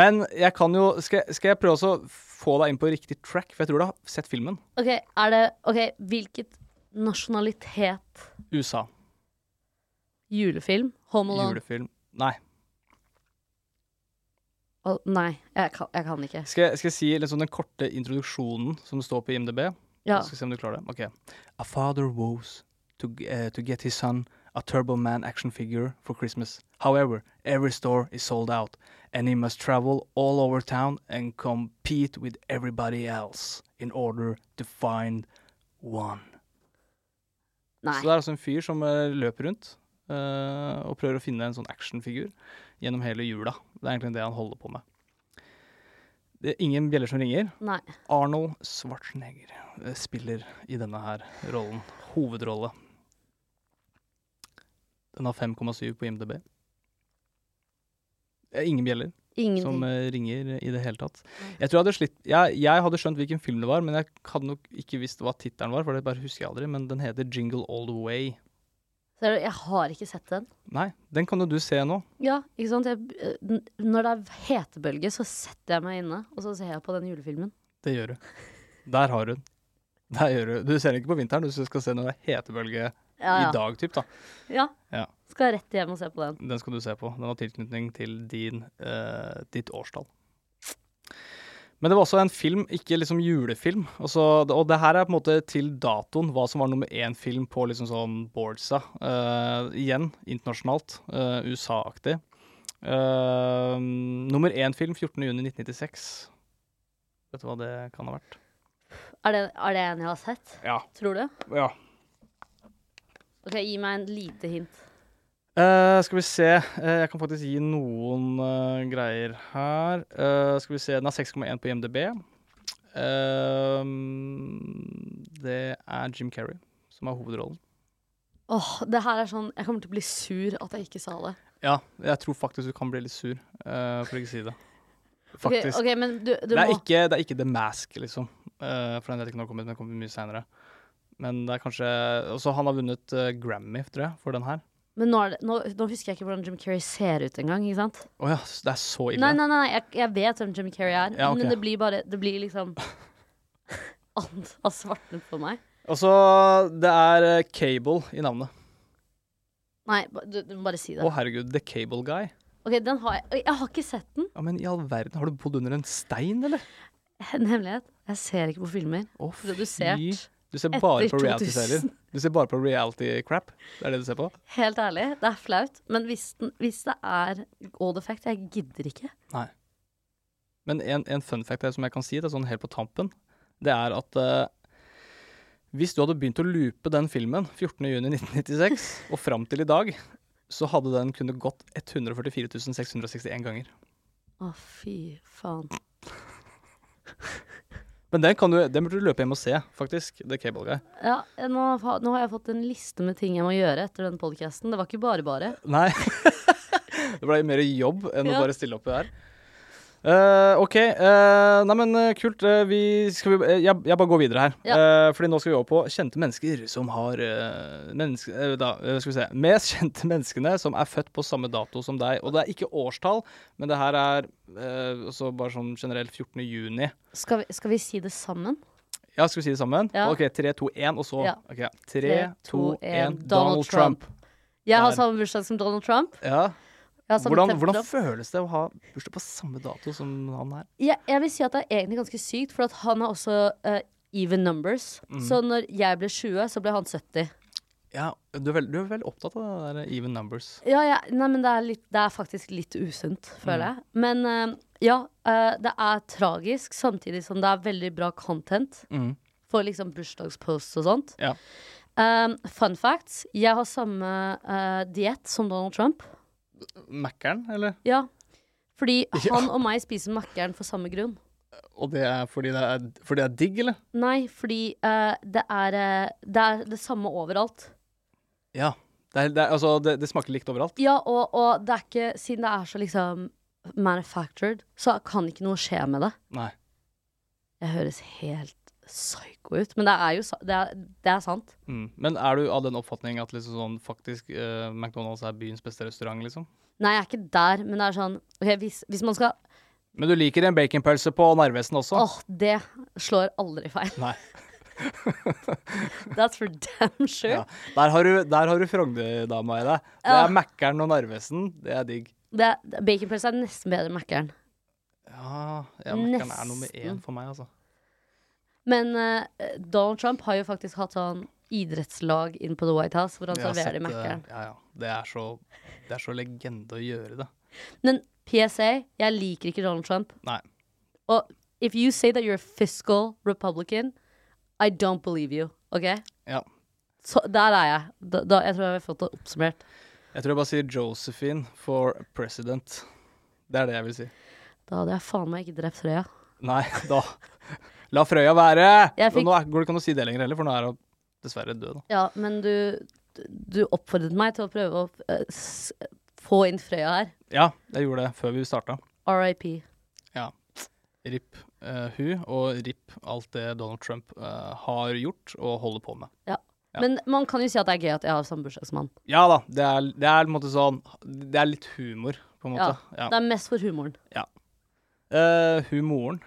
S1: Men jeg kan jo Skal, jeg- skal jeg prøve også å få deg inn på riktig track? For jeg tror du har sett filmen.
S2: Ok, er det Ok, hvilket nasjonalitet
S1: USA.
S2: julefilm? Home Alone?
S1: Julefilm. Nei.
S2: Å, nei, jeg kan, jeg kan ikke.
S1: Skal jeg, skal jeg si liksom den korte introduksjonen som står på IMDb?
S2: Ja.
S1: Skal vi se om du klarer det. Ok. A father woes to, g- eh, to get his son a Turbo Man action figure for Christmas. However, every store is sold out, and he must travel all over town and compete with everybody else in order to find one.
S2: Nei.
S1: Så det er altså en fyr som eh, løper rundt eh, og prøver å finne en sånn actionfigur gjennom hele jula. Det er egentlig det han holder på med. Det er ingen bjeller som ringer.
S2: nei.
S1: Arnold Schwarzenegger eh, spiller i denne her rollen. Hovedrolle. Den har 5,7 på IMDb. Det er Ingen bjeller som
S2: Ingenting.
S1: eh, ringer i det hele tatt. Jeg tror jeg hadde slitt jeg, jeg hadde skjønt hvilken film det var, men jeg hadde nok ikke visst hva tittelen var, for det bare husker jeg aldri. Men den heter Jingle All The Way.
S2: Ser du, jeg har ikke sett den.
S1: Nei, den kan jo du se nå.
S2: Ja, ikke sant? Jeg, eh, n- når det er hetebølge, så setter jeg meg inne, og så ser jeg på den julefilmen.
S1: Det gjør du. Der har du den. Der gjør du. Du ser den ikke på vinteren, du skal se når det er hetebølge
S2: Ja, ja.
S1: i dag, typ, da.
S2: Ja.
S1: Ja.
S2: Skal rett hjem og se på den.
S1: Den skal du se på. Den har tilknytning til din, eh, ditt årstall. Men det var også en film, ikke liksom julefilm. Og, så, og det her er på en måte til datoen hva som var nummer én film på liksom sånn boardsa. Eh, igjen internasjonalt, eh, USA-aktig. Eh, nummer én film 14.6.1996. Vet du hva det kan ha vært?
S2: Er det, er det en jeg har sett?
S1: Ja.
S2: Tror du? Ok, Gi meg en lite hint.
S1: Eh, skal vi se. Eh, jeg kan faktisk gi noen eh, greier her. Eh, skal vi se. Den har 6,1 på IMDb. Ehm, det er Jim Carrey som er hovedrollen.
S2: Åh, det her er sånn Jeg kommer til å bli sur at jeg ikke sa det.
S1: Ja, jeg tror faktisk du kan bli litt sur, eh, for ikke å si det.
S2: Ok,
S1: Faktisk.
S2: ok, men du, du
S1: det, er
S2: må
S1: ikke, det er ikke The Mask, liksom. Eh, for den vet jeg ikke når den kommer, den kommer mye seinere. Men det er kanskje Også han har vunnet eh, Grammy, tror jeg, for den her.
S2: Men nå, er det, nå, nå husker jeg ikke hvordan Jim Carrey ser ut engang. ikke sant?
S1: Å ja, det er så ille.
S2: Nei, nei, nei, jeg, jeg vet hvem Jim Carrey er,
S1: Ja, ok.
S2: men det blir bare Det blir liksom Alt har svartnet for meg.
S1: Og så Det er eh, Cable i navnet.
S2: Nei, ba- du, du må bare si det.
S1: Å, herregud. The Cable Guy.
S2: Ok, den har jeg Jeg har ikke sett den.
S1: Ja, men i all verden, har du bodd under en stein, eller?
S2: En hemmelighet. Jeg ser ikke på filmer.
S1: Å,
S2: Redusert.
S1: Du ser
S2: Etter
S1: bare på reality-serier.
S2: 2000.
S1: Du ser bare på reality-crap. Det er det du ser på?
S2: Helt ærlig, det er flaut. Men hvis, den, hvis det er odd effect, jeg gidder ikke.
S1: Nei. Men en, en fun fact her som jeg kan si, det er sånn helt på tampen, det er at eh, hvis du hadde begynt å loope den filmen 14.6.1996 og fram til i dag, så hadde den kunne gått 144 661 ganger.
S2: Å, fy faen.
S1: Men den, kan du, den burde du løpe hjem og se, faktisk. The Cable Guy.
S2: Ja, nå, har- nå har jeg fått en liste med ting jeg må gjøre etter den podkasten. Det var ikke bare bare.
S1: Nei. det ble mer jobb enn
S2: Ja.
S1: å bare stille opp her. Eh, OK. eh, nei, men eh, kult. eh, vi skal vi, eh, jeg, jeg bare går videre her.
S2: Ja.
S1: Eh, fordi nå skal vi over på kjente mennesker som har eh, menneske, eh, da, eh, Skal vi se Mest kjente menneskene som er født på samme dato som deg. Og det er ikke årstall, men det her er eh, også bare sånn generelt 14. juni.
S2: Skal vi, skal vi si det sammen?
S1: Ja, skal vi si det sammen?
S2: Ja.
S1: OK, 3, 2, 1, og så
S2: Ja.
S1: ok, 3, 2, 1,
S2: Donald
S1: Donald Trump.
S2: Jeg har
S1: Der.
S2: samme bursdag som Donald Trump.
S1: Ja.
S2: Jeg, har samme
S1: Hvordan,
S2: temperatur.
S1: hvordan føles det å ha bursdag på samme dato som han her?
S2: jeg, jeg vil si at det er egentlig ganske sykt, for
S1: Mm.
S2: at han har også eh, even numbers. Så når jeg ble 20, så ble han 70.
S1: Ja, du er, vel, du er vel opptatt av det der even numbers.
S2: Ja, ja, nei, men det er, litt, det er faktisk litt usunt, føler jeg. Men eh, ja, eh, det er tragisk, samtidig som det er veldig bra content.
S1: Mm.
S2: For liksom bursdagsposts og sånt.
S1: Ja.
S2: Um, fun facts. Jeg har samme uh, diett som Donald Trump.
S1: Mækkern, eller?
S2: Ja. Fordi han og meg spiser makkeren for samme grunn.
S1: Og det er fordi det er, fordi det er digg, eller?
S2: Nei, fordi eh, det, er, eh, det er det samme overalt.
S1: Ja. Det, er, det, er, altså, det, det smaker likt overalt.
S2: Ja, og, og det er ikke Siden det er så liksom manufactured, så kan ikke noe skje med det.
S1: Nei.
S2: Jeg høres helt psycho ut, men det er jo sa- det er, det er sant.
S1: Mm. Men er du av den oppfatning at liksom sånn, faktisk eh, McDonald's er byens beste restaurant, liksom?
S2: Nei, jeg er ikke der, men det er sånn ok, hvis, hvis man skal
S1: Men du liker en baconpølse på Narvesen også?
S2: Åh, det slår aldri feil.
S1: Nei.
S2: That's for damn sure.
S1: Ja. Der har du, der har du Frogner-dama i deg. Det
S2: Ja.
S1: er Mækkern og Narvesen. Det er digg.
S2: Det, Baconpølse er nesten bedre enn Mækkern.
S1: Ja, ja Mækkern er nummer én
S2: Nesten.
S1: for meg, altså.
S2: Men eh, Donald Trump har jo faktisk hatt sånn idrettslag inn på The White House, hvor han
S1: Jeg har
S2: serverer
S1: sett, eh,
S2: Mækkern.
S1: Ja, ja. Det er, så, det er så legende å gjøre det.
S2: Men PSA, jeg liker ikke Donald Trump.
S1: Nei.
S2: Og if you say that you're a fiscal Republican, I don't believe you. OK?
S1: Ja.
S2: Så der er jeg. Da, da, jeg tror jeg har fått det oppsummert.
S1: Jeg tror jeg bare sier Josephine for president. Det er det jeg vil si.
S2: Da hadde jeg faen meg ikke drept Frøya.
S1: Nei, da La Frøya være!
S2: Jeg fikk-
S1: Nå er, går det ikke an å si det lenger heller, for nå er hun dessverre død. Da.
S2: Ja, men du, du oppfordret meg til å prøve å eh, s få inn Frøya her.
S1: Ja, jeg gjorde det før vi starta.
S2: RIP.
S1: Ja. RIP eh, hun, og RIP alt det Donald Trump eh, har gjort og holder på med.
S2: Ja. Men man kan jo si at det er gøy at jeg har samme bursdag som han.
S1: Ja da, det er, det er på en måte sånn Det er litt humor, på en
S2: Ja.
S1: måte. Ja.
S2: Det er mest for humoren.
S1: Ja. Eh, hun moren.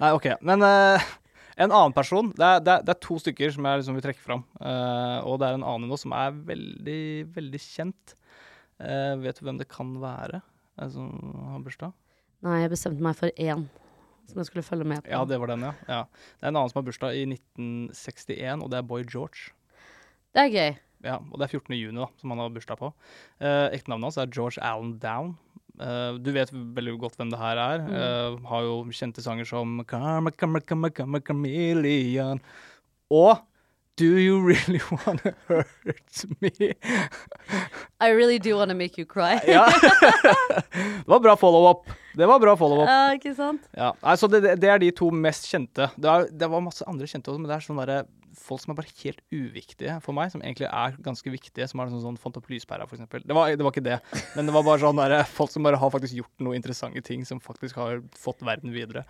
S1: Nei, OK. Men eh, en annen person det er, det, er, det er to stykker som jeg liksom vil trekke fram. Eh, og det er en annen nå som er veldig, veldig kjent. Eh, vet du hvem det kan være? Eh, Som har bursdag?
S2: Nei, jeg bestemte meg for én som jeg skulle følge med på.
S1: Ja, det var den, ja. ja. Det er en annen som har bursdag i 1961, og det er Boy George.
S2: det er gøy.
S1: Ja, og det er 14. juni da, som han har bursdag på. Eh, Ektenavnet hans er George Allen Down. Eh, du vet veldig godt hvem det her er. Eh, har jo kjente sanger som Karma, Karma, Karma, Karma, Chameleon. Og Do You Really Wanna Hurt Me?
S2: I really do wanna make you cry.
S1: ja. det var bra follow-up. Det var bra follow-up.
S2: Ja, ikke sant?
S1: Ja, nei, så det, det- det er de to mest kjente. Det, er, det var masse andre kjente også, men det er sånne der, folk som er bare helt uviktige for meg, som egentlig er ganske viktige, som er sånn, sånn Fant opp lyspæra, for eksempel. Det var, det var ikke det, men det var bare sånn der, folk som bare har faktisk gjort noe interessante ting, som faktisk har fått verden videre.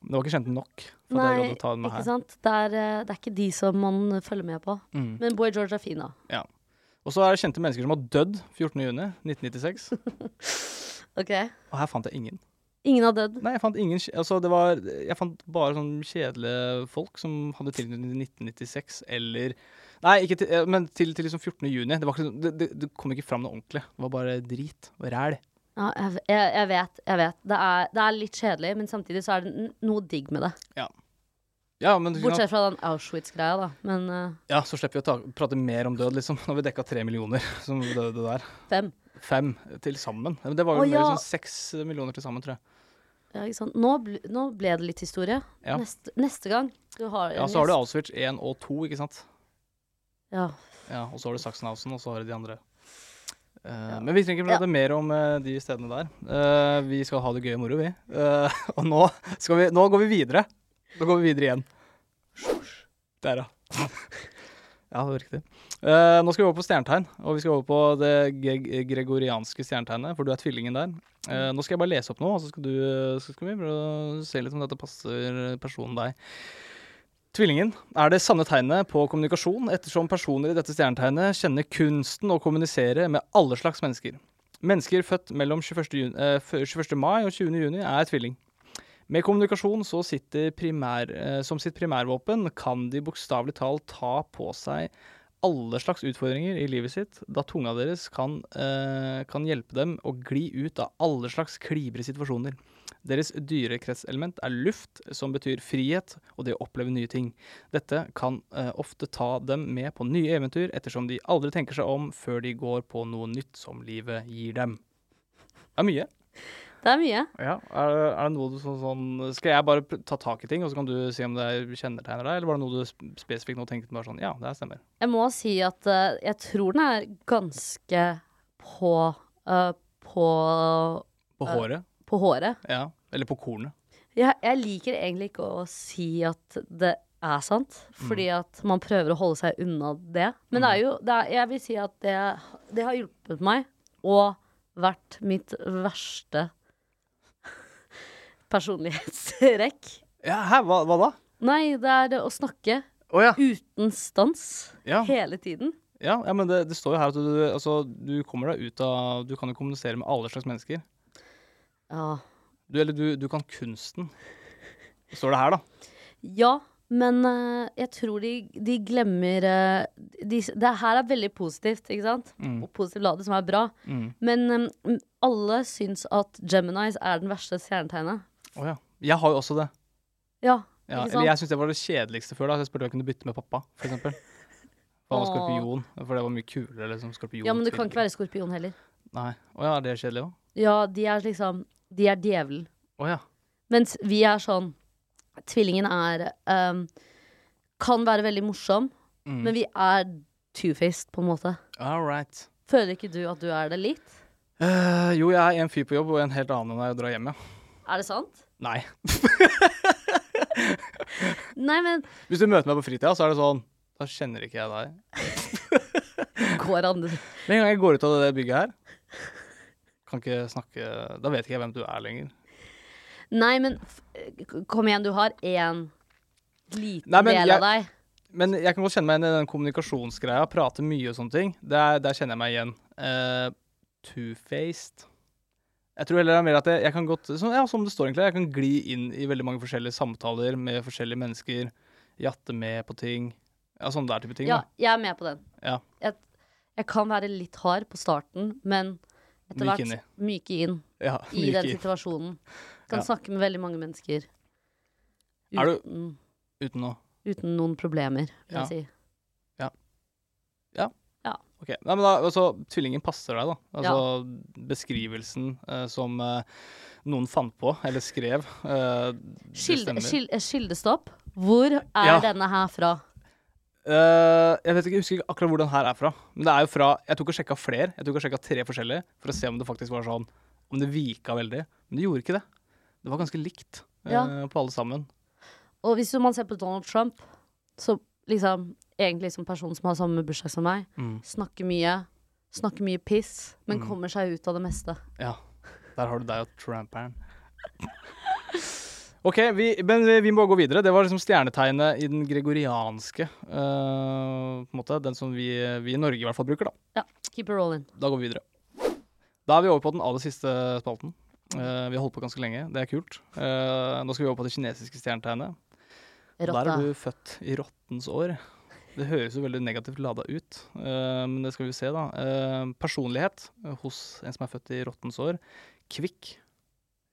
S1: Men det var ikke kjente nok. For at jeg
S2: Nei,
S1: gadd å ta den med
S2: ikke
S1: her.
S2: sant? Det er, eh, det er ikke de som man følger med på.
S1: Mm.
S2: Men Boy George er fin, da.
S1: Ja. Og så er det kjente mennesker som har dødd 14.6.1996,
S2: Ok?
S1: og her fant jeg ingen.
S2: Ingen har dødd.
S1: Nei, jeg fant ingen kje- altså, det var, Jeg fant bare sånn kjedelige folk som hadde tilknytning til 1996 eller Nei, ikke til, eh, men til, til liksom 14. juni. Det, var ikke, sånn- det, det, det kom ikke fram noe ordentlig. Det var bare drit og ræl.
S2: Ja, jeg, jeg, jeg vet. jeg vet det er, det er litt kjedelig, men samtidig så er det n- noe digg med det.
S1: Ja. Ja, men du kan-
S2: Bortsett fra den Auschwitz-greia, da. Men eh,
S1: ja, så slipper vi å ta, prate mer om død, liksom. Når vi dekka tre millioner som døde der.
S2: fem.
S1: Fem til sammen. Men Det var jo
S2: Å,
S1: mer
S2: ja.
S1: sånn seks millioner til sammen, tror jeg.
S2: Ja, ikke sant? Nå, bl nå ble det litt historie.
S1: Ja.
S2: Neste, neste gang du har
S1: Ja, Så har du Auschwitz 1 og 2, ikke sant.
S2: Ja.
S1: Ja, og så har du Sachsenhausen, og så har du de andre. Eh, Men vi trenger ikke prate mer om eh, de stedene der. Eh, vi skal ha det gøy og moro, vi. Eh, og nå, skal vi, nå går vi videre. Nå går vi videre igjen. Der, ja. ja, det var riktig. Eh, nå skal vi over på stjernetegn, og vi skal over på det gre gregorianske stjernetegnet, for du er tvillingen der. Eh, nå skal jeg bare lese opp noe, og så skal, du, så skal vi prøve å se litt om dette passer personen deg. Tvillingen er det sanne tegnet på kommunikasjon, ettersom personer i dette stjernetegnet kjenner kunsten å kommunisere med alle slags mennesker. Mennesker født mellom 21. Juni, eh, før 21. mai og 20. juni er tvilling. Med kommunikasjon så sitter primær, eh, som sitt primærvåpen kan de bokstavelig talt ta på seg alle slags utfordringer i livet sitt, da tunga deres kan, eh, kan hjelpe dem å gli ut av alle slags klibre situasjoner. Deres dyrekretselement er luft, som betyr frihet og det å oppleve nye ting. Dette kan eh, ofte ta dem med på nye eventyr, ettersom de aldri tenker seg om før de går på noe nytt som livet gir dem. Det er mye.
S2: Det er mye.
S1: Ja, er, det- er det noe du sånn, sånn Skal jeg bare pr- ta tak i ting, og så kan du si om det kjennetegner deg, eller var det noe du sp- spesifikt nå tenkte bare sånn Ja, det her stemmer.
S2: Jeg må si at eh, jeg tror den er ganske på eh, på,
S1: På
S2: Eh.
S1: håret.
S2: på håret.
S1: Ja. Eller på kornet.
S2: Jeg, jeg liker egentlig ikke å si at det er sant, fordi at man prøver å holde seg unna det. Men det er jo det er, Jeg vil si at det, det har hjulpet meg, og vært mitt verste personlighetstrekk.
S1: Ja, hæ, hva, hva da?
S2: Nei, det er det å snakke
S1: Å ja.
S2: uten stans
S1: Ja.
S2: hele tiden.
S1: Ja, ja, men det, det står jo her at du, altså, du kommer deg ut av Du kan jo kommunisere med alle slags mennesker.
S2: Ja.
S1: Du, eller du, du kan kunsten. Det Står det her, da.
S2: Ja, men eh, jeg tror de, de glemmer eh, de, Det her er veldig positivt, ikke sant?
S1: Mm.
S2: Og positivt ladet, som er bra.
S1: Mm.
S2: Men eh, alle syns at Geminis er den verste stjernetegnet.
S1: Å ja. Jeg har jo også det.
S2: Ja,
S1: Ja,
S2: ikke
S1: eller
S2: sant?
S1: jeg syns det var det kjedeligste før, da. så Jeg spurte om jeg kunne bytte med pappa, for eksempel. For han var
S2: Åh.
S1: skorpion, for det var mye kulere. Liksom, skorpion
S2: ja, men du kan ikke være skorpion heller.
S1: Nei. Å ja, er det kjedelig òg?
S2: Ja, de er liksom De er djevelen.
S1: Å ja.
S2: Mens vi er sånn Tvillingen er eh, Kan være veldig morsom,
S1: Mm.
S2: men vi er two-faced, på en måte.
S1: All right.
S2: Føler ikke du at du er det litt?
S1: Eh, jo, jeg er en fyr på jobb og en helt annen når jeg drar hjem, ja.
S2: Er det sant?
S1: Nei.
S2: Nei, men
S1: Hvis du møter meg på fritida, så er det sånn Da kjenner ikke jeg deg.
S2: går an det?
S1: Med en gang jeg går ut av det bygget her, kan ikke snakke Da vet ikke jeg hvem du er lenger.
S2: Nei, men f- eh, k- kom igjen, du har én liten
S1: Nei, men
S2: del
S1: jeg-
S2: av deg.
S1: Men jeg kan godt kjenne meg igjen i den kommunikasjonsgreia. Prate mye og sånne ting. Der, der kjenner jeg meg igjen. Eh, Two-faced. Jeg tror heller det er mer at jeg, jeg kan godt så, ja, som det står egentlig, jeg kan gli inn i veldig mange forskjellige samtaler med forskjellige mennesker. Jatte med på ting. Ja, sånne der type ting.
S2: Ja,
S1: da.
S2: jeg er med på den.
S1: Ja.
S2: Jeg, jeg kan være litt hard på starten, men etter
S1: Myk
S2: hvert
S1: inni.
S2: myke inn
S1: Ja,
S2: i
S1: myk
S2: den
S1: i.
S2: situasjonen. Kan
S1: Ja.
S2: snakke med veldig mange mennesker
S1: Er du-
S2: uten,
S1: Uten å
S2: uten noen problemer, vil
S1: Ja.
S2: jeg si.
S1: Ok, Nei, men da, altså, Tvillingen passer deg, da. Altså, Beskrivelsen eh, som eh, noen fant på, eller skrev. eh, det
S2: Skilde,
S1: stemmer.
S2: skil- eh, skildestopp. Hvor er
S1: Ja.
S2: denne her fra?
S1: Eh, jeg vet ikke, jeg husker ikke akkurat hvor den her er fra. Men det er jo fra, Jeg tok og sjekka flere, jeg tok og sjekka tre forskjellige, for å se om det faktisk var sånn, om det vika veldig. Men det gjorde ikke det. Det var ganske likt eh,
S2: Ja.
S1: på alle sammen.
S2: Og hvis man ser på Donald Trump, så liksom Egentlig som person som har samme bursdag som meg,
S1: Mm.
S2: snakker mye, snakker mye piss, men kommer seg ut av det meste.
S1: Ja, der har du deg og tramperen. Ok, vi, men vi, vi må gå videre. Det var liksom stjernetegnet i den gregorianske. eh, på en måte, Den som vi, vi i Norge i hvert fall bruker, da.
S2: Ja, keep it rolling.
S1: Da går vi videre. Da er vi over på den aller siste spalten. Eh, vi har holdt på ganske lenge, det er kult. Eh, nå skal vi over på det kinesiske stjernetegnet. Der
S2: Rotta.
S1: er du født i rottens år. Det høres jo veldig negativt lada ut, eh, men det skal vi se, da. Eh, personlighet eh, hos en som er født i rottens år. Kvikk,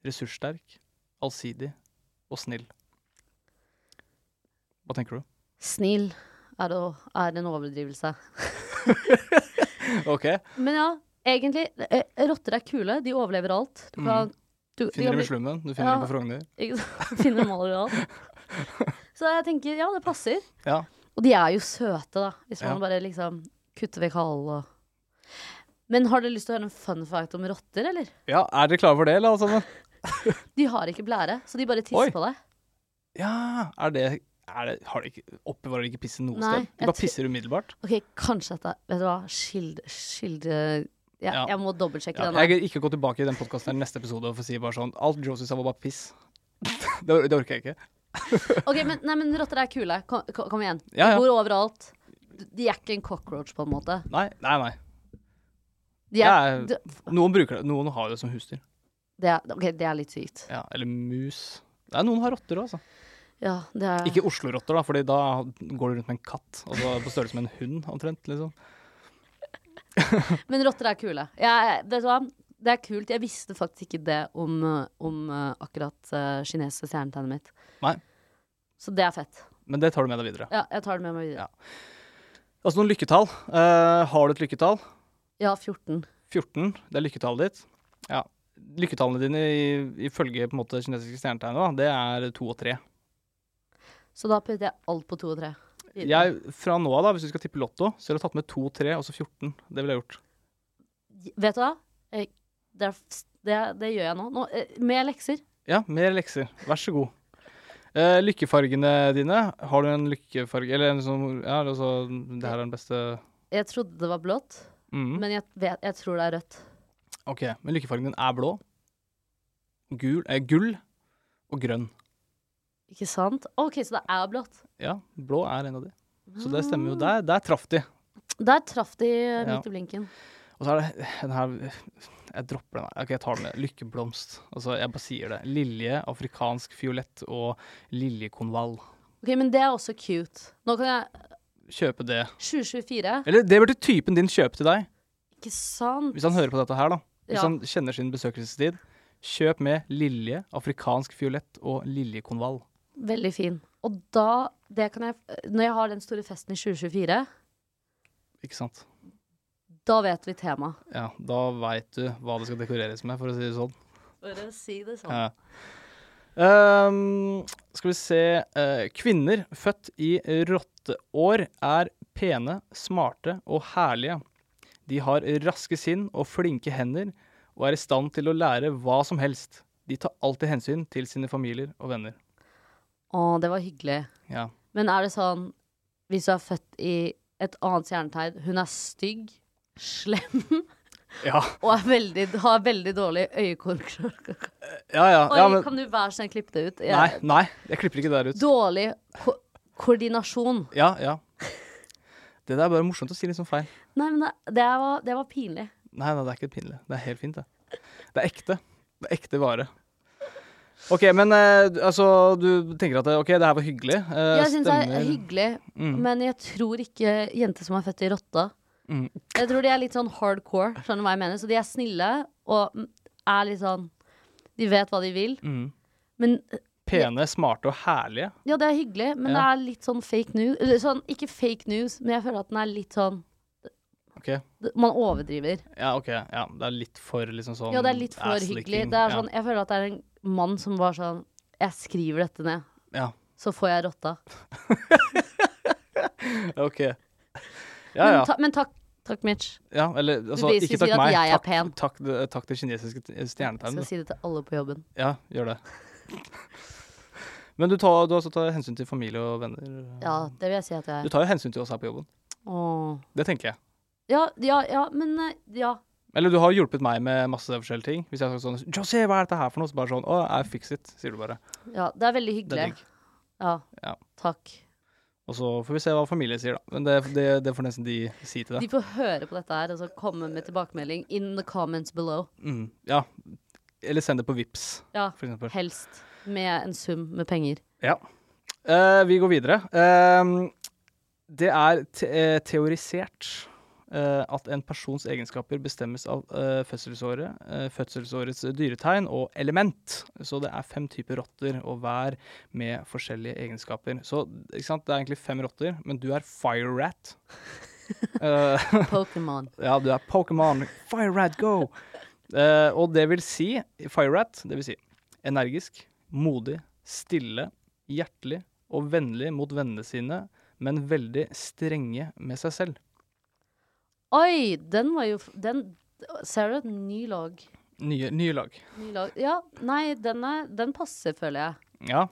S1: ressurssterk, allsidig og snill. Hva tenker du?
S2: Snill er, å, er en overdrivelse.
S1: OK,
S2: Men ja, egentlig, eh, rotter er kule. De overlever alt. Du kan, du,
S1: Mm. finner
S2: du
S1: dem i
S2: kan
S1: slummen, du finner
S2: Ja.
S1: dem på Frogner.
S2: bli- ikke sant? finner dem overalt. Så jeg tenker, ja, det passer.
S1: Ja.
S2: Og de er jo søte, da. Hvis man
S1: Ja.
S2: bare liksom kutter vekk halen og Men har dere lyst til å høre en fun fact om rotter, eller?
S1: ja, er dere klare for det, eller alle sammen?
S2: De har ikke blære, så de bare
S1: Oi.
S2: tisser på deg.
S1: Ja, er det, er det har de ikke, Oppbevarer de ikke pisset noe
S2: Nei,
S1: sted? De
S2: jeg
S1: bare
S2: tr-
S1: pisser umiddelbart?
S2: OK, kanskje dette Vet du hva, skild... skild eh, ja,
S1: Ja.
S2: Jeg må dobbeltsjekke
S1: Ja,
S2: den.
S1: jeg gidder ikke gå tilbake i den podkasten neste episode og få si bare sånn Alt Joseph sa var bare piss. Det, or- det orker jeg ikke.
S2: Ok, men, nei, men rotter er kule. Kom, kom, kom igjen.
S1: Ja, ja.
S2: Bor overalt. De er ikke en cockroach, på en måte.
S1: Nei, nei, nei.
S2: De er,
S1: Det
S2: de,
S1: er- Noen bruker det. Noen har det som husdyr.
S2: det er, ok, det er litt sykt.
S1: Ja, eller mus. Nei, noen har rotter òg, altså.
S2: Ja, det er
S1: Ikke Oslo-rotter, da, Fordi da går du rundt med en katt. Og så er det på størrelse med en hund, omtrent. liksom.
S2: Men rotter er kule. Jeg, vet du hva? det er kult. Jeg visste faktisk ikke det om, eh, om eh, akkurat uh, kinesiske stjernetegnet mitt.
S1: Nei,
S2: Så det er fett.
S1: men det tar du med deg videre.
S2: Ja, jeg tar det med meg videre.
S1: Altså noen lykketall. Eh, har du et lykketall?
S2: Ja, 14.
S1: 14, det er lykketallet ditt. Ja. Lykketallene dine i- ifølge på en måte kinesiske stjernetegnet, da, det er to og tre.
S2: Så da putter jeg alt på 2 og 3.
S1: Jeg, fra nå av, da, hvis du skal tippe Lotto, så ville jeg tatt med to, tre og så 14. Det ville jeg gjort.
S2: Vet du hva? Jeg, det, er, f- det, det gjør jeg nå. nå eh, med lekser.
S1: Ja, mer lekser. Vær så god. Eh, lykkefargene dine. Har du en lykkefarge Eller en sånn Ja, altså Det her er den beste
S2: Jeg trodde det var blått,
S1: mm.
S2: men jeg, vet, jeg tror det er rødt.
S1: OK. Men lykkefargen din er blå, gul, eh, gull og grønn.
S2: Ikke sant? OK, så det er blått.
S1: Ja, blå er en av de. Så det stemmer jo. Der, der traff de.
S2: Der traff de eh,
S1: Ja.
S2: midt i blinken.
S1: Og så er det den her Jeg dropper den her. Ok, jeg tar den med. Lykkeblomst. Altså, jeg bare sier det. Lilje, afrikansk fiolett og liljekonvall.
S2: OK, men det er også cute. Nå kan jeg
S1: Kjøpe det.
S2: 2024.
S1: Eller det burde typen din kjøpe til deg,
S2: Ikke sant?
S1: hvis han hører på dette her, da. Hvis
S2: Ja.
S1: han kjenner sin besøkelsestid. Kjøp med lilje, afrikansk fiolett og liljekonvall.
S2: Veldig fin. Og da det kan jeg, Når jeg har den store festen i 2024,
S1: Ikke sant?
S2: da vet vi temaet.
S1: Ja, da veit du hva det skal dekoreres med, for å si det sånn.
S2: For å si det sånn.
S1: Ja. Ehm, skal vi se eh, Kvinner født i rotteår er pene, smarte og herlige. De har raske sinn og flinke hender, og er i stand til å lære hva som helst. De tar alltid hensyn til sine familier og venner.
S2: Å, det var hyggelig.
S1: Ja.
S2: Men er det sånn Hvis du er født i et annet stjernetegn Hun er stygg, slem
S1: Ja,
S2: og er veldig, har veldig dårlig øyekontroll.
S1: ja, ja,
S2: Oi,
S1: ja men
S2: kan du være så snill klippe det ut? Jeg-
S1: Nei, nei, jeg klipper ikke det der ut.
S2: Dårlig ko koordinasjon.
S1: Ja, ja. Det der er bare morsomt å si litt sånn feil.
S2: Nei, men det, det, var, det var pinlig.
S1: Nei, nei, det er ikke pinlig. Det er helt fint, det. Det er ekte. Det er ekte vare. OK, men eh, du- altså, du tenker at det- OK, det her var hyggelig. eh,
S2: Jeg syns det er
S1: stemmer.
S2: hyggelig,
S1: Mm.
S2: men jeg tror ikke jenter som er født i rotta
S1: Mm.
S2: Jeg tror de er litt sånn hardcore, skjønner du hva jeg mener? Så de er snille og mm, er litt sånn De vet hva de vil.
S1: Mm.
S2: Men
S1: Pene, smarte og herlige.
S2: Ja, det er hyggelig, men det
S1: Ja.
S2: er litt sånn fake news. Eller sånn, ikke fake news, men jeg føler at den er litt sånn
S1: OK.
S2: d- Man overdriver.
S1: Ja, ok, ja, det er litt for liksom sånn
S2: ja, det er litt for
S1: ass-licking.
S2: hyggelig. Det
S1: Ja.
S2: er sånn, jeg føler at det er en mann som var sånn Jeg skriver dette ned,
S1: Ja,
S2: så får jeg rotta.
S1: OK. Ja,
S2: Men,
S1: ja.
S2: ta, men takk, takk, Mitch.
S1: ja eller altså,
S2: basically
S1: ikke
S2: sier at
S1: takk meg.
S2: jeg er
S1: Takk,
S2: pen.
S1: takk, det- takk til kinesiske t-
S2: Jeg
S1: stjernetegn.
S2: skal
S1: du.
S2: si det til alle på jobben.
S1: Ja, gjør det. Men du, tar, du har også tatt hensyn til familie og venner.
S2: Ja, det vil jeg si at
S1: Du
S2: jeg er.
S1: tar jo hensyn til oss her på jobben.
S2: Åh.
S1: Det tenker jeg.
S2: Ja, ja, ja, men eh, Ja.
S1: Eller du har hjulpet meg med masse forskjellige ting. Hvis jeg har sagt sånn José, hva er dette her for noe? Så bare sånn Å, I fix it, sier du bare.
S2: ja det er veldig
S1: Det er
S2: hyggelig.
S1: digg.
S2: Ja.
S1: Ja.
S2: Takk.
S1: Og så får vi se hva familien sier, da. Men det, det, det får nesten de si til
S2: De
S1: deg.
S2: får høre på dette her og så komme med tilbakemelding in the comments below.
S1: Mm, ja. Eller send det på Vips,
S2: Ja.
S1: for eksempel.
S2: Helst med en sum med penger.
S1: Ja. Eh, vi går videre. Ehm, det er te eh, teorisert eh, at en persons egenskaper bestemmes av eh, fødselsåret, eh, fødselsårets dyretegn og element. Så det er fem typer rotter, og hver med forskjellige egenskaper. Så ikke sant? det er egentlig fem rotter, men du er fire rat. Eh,
S2: Pokémon.
S1: ja, du er Pokémon. Fire Rat, go! Eh, og det vil si Fire Rat, det vil si energisk, modig, stille, hjertelig og vennlig mot vennene sine, men veldig strenge med seg selv.
S2: Oi, den var jo f- den, Ser du? Ny lag.
S1: Nye, nye lag.
S2: Ny lag. Ja, nei, den, er, den passer, føler jeg.
S1: Ja.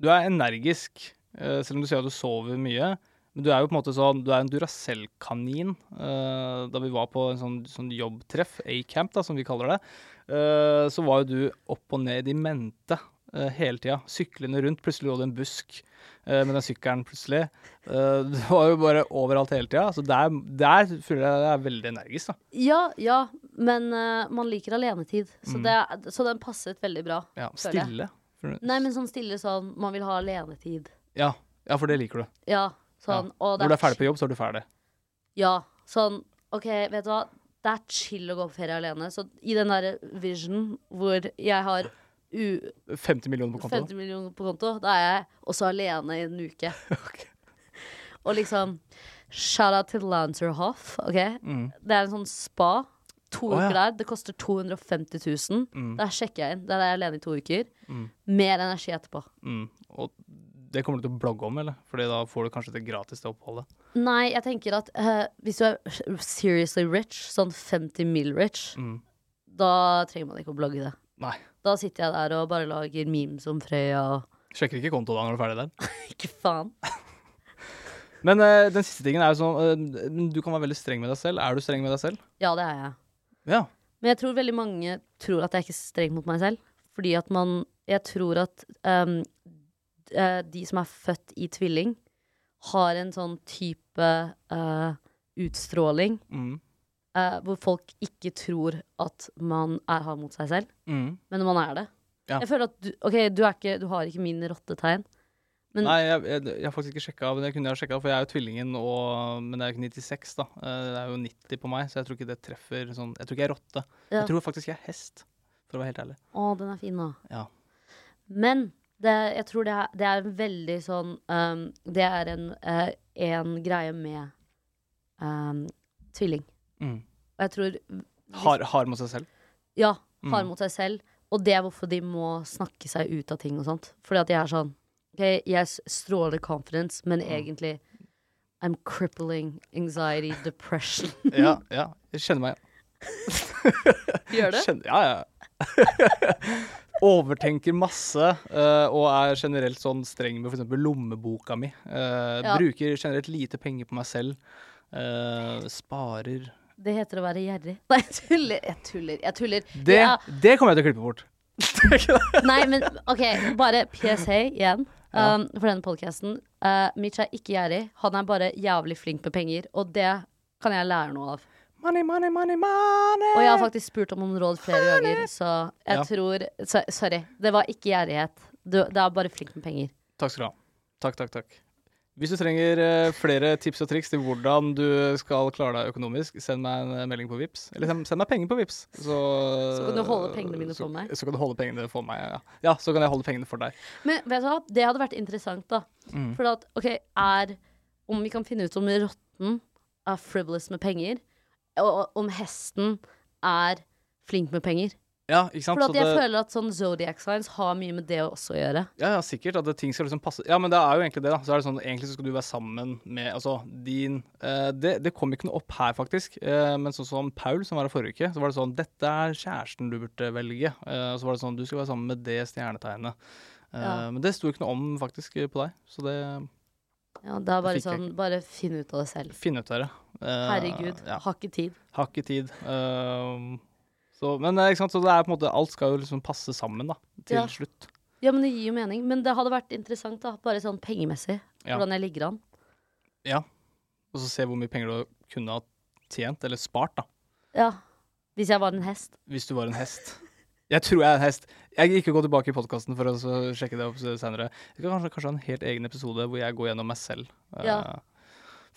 S1: Du er energisk, eh, selv om du sier at du sover mye. Men du er jo på en måte sånn, du er en Duracell-kanin. Eh, da vi var på en sånn, sånn jobbtreff, A-camp da, som vi kaller det, eh, så var jo du opp og ned i mente eh, hele tida. Syklende rundt. Plutselig lå det en busk eh, med den sykkelen, plutselig. Eh, du var jo bare overalt hele tida. Så der, der føler jeg det er veldig energisk, da.
S2: Ja, ja, men eh, man liker alenetid, så,
S1: Mm.
S2: det, er- så den passet veldig bra.
S1: Ja,
S2: føler jeg.
S1: stille.
S2: Nei, men sånn stille sånn Man vil ha alenetid.
S1: Ja, ja, for det liker du.
S2: Ja, sånn.
S1: ja.
S2: Og
S1: Når du er ferdig på jobb, så er du ferdig.
S2: Ja, sånn. OK, vet du hva. det er chill å gå på ferie alene. Så i den derre vision hvor jeg har u
S1: 50 millioner på kontoen.
S2: 50 millioner på konto, da er jeg også alene i en uke. Og liksom Shout out til Lancerhoff. ok? Det er en sånn spa. To
S1: Mm. Å, ja. Mm.
S2: uker der. Det koster 250 000. Der sjekker jeg inn. Der er jeg alene i to uker. Mer energi etterpå.
S1: Og det kommer du til å blogge om, eller? Fordi da får du kanskje det gratis det oppholdet.
S2: Nei, jeg tenker at eh, hvis du er seriously rich, sånn 50 mil rich, da trenger man ikke å blogge det.
S1: Nei.
S2: Da sitter jeg der og bare lager memes om Frøya og
S1: Sjekker ikke kontoen da når du er ferdig der.
S2: Ikke faen.
S1: Men eh, den siste tingen er jo sånn eh, Du kan være veldig streng med deg selv. Er du streng med deg selv?
S2: Ja, det er jeg.
S1: Ja.
S2: Men jeg tror veldig mange tror at jeg ikke er streng mot meg selv. Fordi at man Jeg tror at ehm, eh, de som er født i tvilling, har en sånn type eh, utstråling
S1: Mm.
S2: eh, hvor folk ikke tror at man er hard mot seg selv,
S1: Mm.
S2: men man er det.
S1: Ja.
S2: Jeg føler at du, OK, du, er ikke, du har ikke min rottetegn. Men-
S1: Nei, jeg, jeg, jeg har faktisk ikke sjekka, men jeg kunne ha sjekka, for jeg er jo tvillingen, og, men det er jo ikke 96, da. Eh, Det er jo 90 på meg, så jeg tror ikke det treffer sånn Jeg tror ikke jeg er rotte.
S2: Ja.
S1: Jeg tror faktisk jeg er hest, for å være helt ærlig.
S2: Å, den er fin, da.
S1: Ja.
S2: Men det, jeg tror det er, det er en veldig sånn ehm, Det er en, eh, en greie med ehm, tvilling.
S1: Mm.
S2: Og jeg tror
S1: Hard, hard mot seg selv.
S2: Ja,
S1: Mm.
S2: hard mot seg selv. Og det er hvorfor de må snakke seg ut av ting og sånt. Fordi at jeg er sånn Ok, jeg s- stråler confidence, men
S1: Mm.
S2: egentlig I'm crippling anxiety, depression.
S1: Ja, ja. Jeg kjenner meg
S2: Gjør
S1: Kjenner, ja, ja. Overtenker masse eh, og er generelt sånn streng med f.eks. lommeboka mi. Eh,
S2: Ja.
S1: Bruker generelt lite penger på meg selv. eh, sparer
S2: Det heter å være gjerrig. Nei, jeg tuller. Jeg tuller. Jeg tuller.
S1: det,
S2: Ja,
S1: det kommer jeg til å klippe bort.
S2: nei, men OK, bare PSA igjen. Um, For denne podkasten. Uh, Mitch er ikke gjerrig. Han er bare jævlig flink med penger, og det kan jeg lære noe av.
S1: Money, money, money, money!
S2: Og jeg har faktisk spurt om noen råd flere ganger, så jeg
S1: eh. Ja.
S2: tror så, Sorry, det var ikke gjerrighet. Du, det er bare flink med penger.
S1: Takk skal du ha. Takk, takk, takk. Hvis du trenger eh, flere tips og triks til hvordan du skal klare deg økonomisk, send meg en eh, melding på Vips. Eller send, send meg penger på Vips. Så,
S2: Så kan du holde pengene mine
S1: så-
S2: for meg.
S1: Så kan du holde pengene for meg, ja. Ja, så kan jeg holde pengene for deg.
S2: Men vet du hva, det hadde vært interessant, da.
S1: Mm.
S2: For at, ok, er Om vi kan finne ut om rotten er frivolous med penger, og om hesten er flink med penger.
S1: Ja, ikke sant?
S2: For
S1: Så
S2: at jeg
S1: det-
S2: føler at sånn zodiac signs har mye med det også å gjøre.
S1: Ja, ja, sikkert. At det- ting skal liksom passe Ja, men det er jo egentlig det, da. Så er det sånn, Egentlig så skal du være sammen med Altså, din eh, det, det kom ikke noe opp her, faktisk. Eh, men sånn som Paul, som var her forrige uke, så var det sånn Dette er kjæresten du burde velge. Eh, og så var det sånn Du skal være sammen med det stjernetegnet. Eh,
S2: Ja.
S1: Men det sto ikke noe om, faktisk, eh, på deg. Så det
S2: Ja, det er bare
S1: Det fikk jeg
S2: sånn, bare finn ut av det selv.
S1: Finn ut av det. Eh,
S2: Herregud,
S1: Ja.
S2: har ikke tid.
S1: Har ikke tid. Eh, så, men eh, ikke sant, så det er på en måte Alt skal jo liksom passe sammen, da. Til
S2: Ja.
S1: slutt.
S2: Ja, men det gir jo mening. Men det hadde vært interessant, da. Bare sånn pengemessig.
S1: Ja.
S2: Hvordan jeg ligger an.
S1: Ja. Og så se hvor mye penger du kunne ha tjent, eller spart, da.
S2: Ja. Hvis jeg var en hest.
S1: Hvis du var en hest. Jeg tror jeg er en hest. Jeg gikk ikke gå tilbake i podkasten for å så sjekke det opp senere. Jeg kan kanskje, kanskje ha en helt egen episode hvor jeg går gjennom meg selv, eh,
S2: Ja.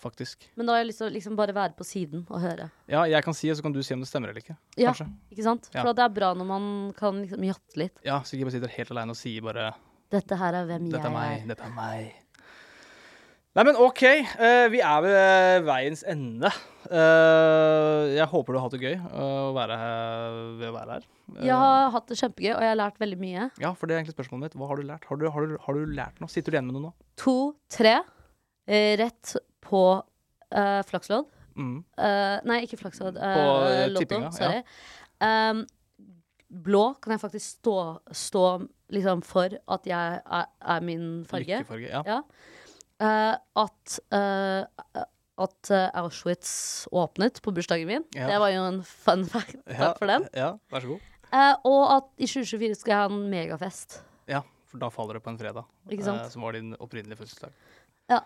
S1: faktisk.
S2: Men da har jeg lyst til å liksom bare være på siden og høre.
S1: Ja, jeg kan si det, så kan du si om det stemmer eller ikke.
S2: Ja,
S1: Kanskje.
S2: ikke sant?
S1: Ja.
S2: For at det er bra når man kan liksom jatte litt.
S1: Ja, så ikke jeg bare sitter helt aleine og sier bare
S2: Dette her er hvem
S1: Dette er
S2: jeg
S1: meg,
S2: er.
S1: dette er meg. Nei, men OK. eh, vi er ved veiens ende. Eh, jeg håper du har hatt det gøy eh, å være her, ved å være her. Eh,
S2: Jeg har hatt det kjempegøy, og jeg har lært veldig mye.
S1: ja, for det er egentlig spørsmålet mitt. Hva har du lært? Har du, har du, har du lært noe? Sitter du igjen med noe nå?
S2: To, tre. eh, Rett på eh, flakslodd.
S1: Mm.
S2: Eh, nei, ikke flakslodd. eh,
S1: På, eh,
S2: lotto,
S1: tippinga, ja.
S2: sorry. Um, blå kan jeg faktisk stå, stå liksom for at jeg er, er min farge.
S1: Lykkefarge, ja.
S2: Ja. Eh, at eh, at eh, Auschwitz åpnet på bursdagen min.
S1: Ja.
S2: Det var jo en fun fact. Takk for den.
S1: Ja, vær så god.
S2: Eh, og at i 2024 skal jeg ha en megafest.
S1: Ja, for da faller det på en fredag,
S2: Ikke sant?
S1: eh, som var din opprinnelige fødselsdag.
S2: Eh,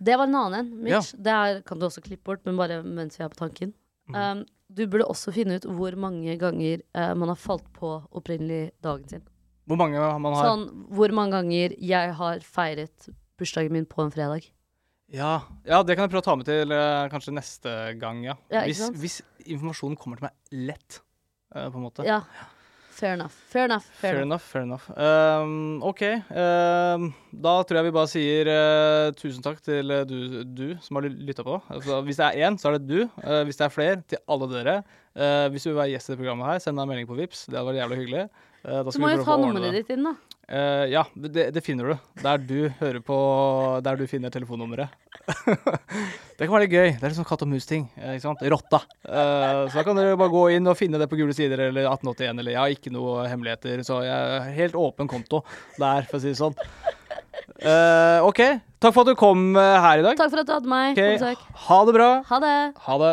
S2: Det var en annen en, Mitch.
S1: Ja. Mhm.
S2: Det her kan du også klippe bort, men bare mens vi er på tanken. Um, du burde også finne ut hvor mange ganger eh, man har falt på opprinnelig dagen sin.
S1: Hvor mange man har
S2: Sånn hvor mange ganger jeg har feiret bursdagen min på en fredag.
S1: Ja, ja, det kan jeg prøve å ta med til eh, kanskje neste gang, ja.
S2: Ja, ikke
S1: hvis,
S2: sant?
S1: hvis informasjonen kommer til meg lett, eh, på en måte.
S2: Ja. Fair enough. Fair enough. Fair
S1: Fair
S2: enough.
S1: enough, fair enough. Ehm, OK. ehm, da tror jeg vi bare sier eh, tusen takk til eh, du, du som har lytta på. Altså, hvis det er én, så er det du. Eh, hvis det er flere, til alle dere. Eh, hvis du vil være gjest i det programmet her, send meg en melding på Vips. Det hadde vært jævlig hyggelig. Eh, da
S2: Du
S1: skal
S2: må
S1: vi
S2: jo
S1: prøve
S2: ta
S1: å ordne
S2: nummeret
S1: det.
S2: ditt inn, da.
S1: Eh, ja, det, det finner du. Der du hører på Der du finner telefonnummeret. det kan være litt gøy. Det er litt sånn katt og mus-ting. eh, Ikke sant? Rotta. Eh, så da kan dere bare gå inn og finne det på Gule sider eller 1881 eller Jeg har ikke noe hemmeligheter, så jeg har helt åpen konto der, for å si det sånn. Eh, OK. Takk for at du kom eh, her i dag.
S2: Takk for at du hadde meg
S1: Ok,
S2: på besøk.
S1: Ha det bra.
S2: Ha det.
S1: Ha det.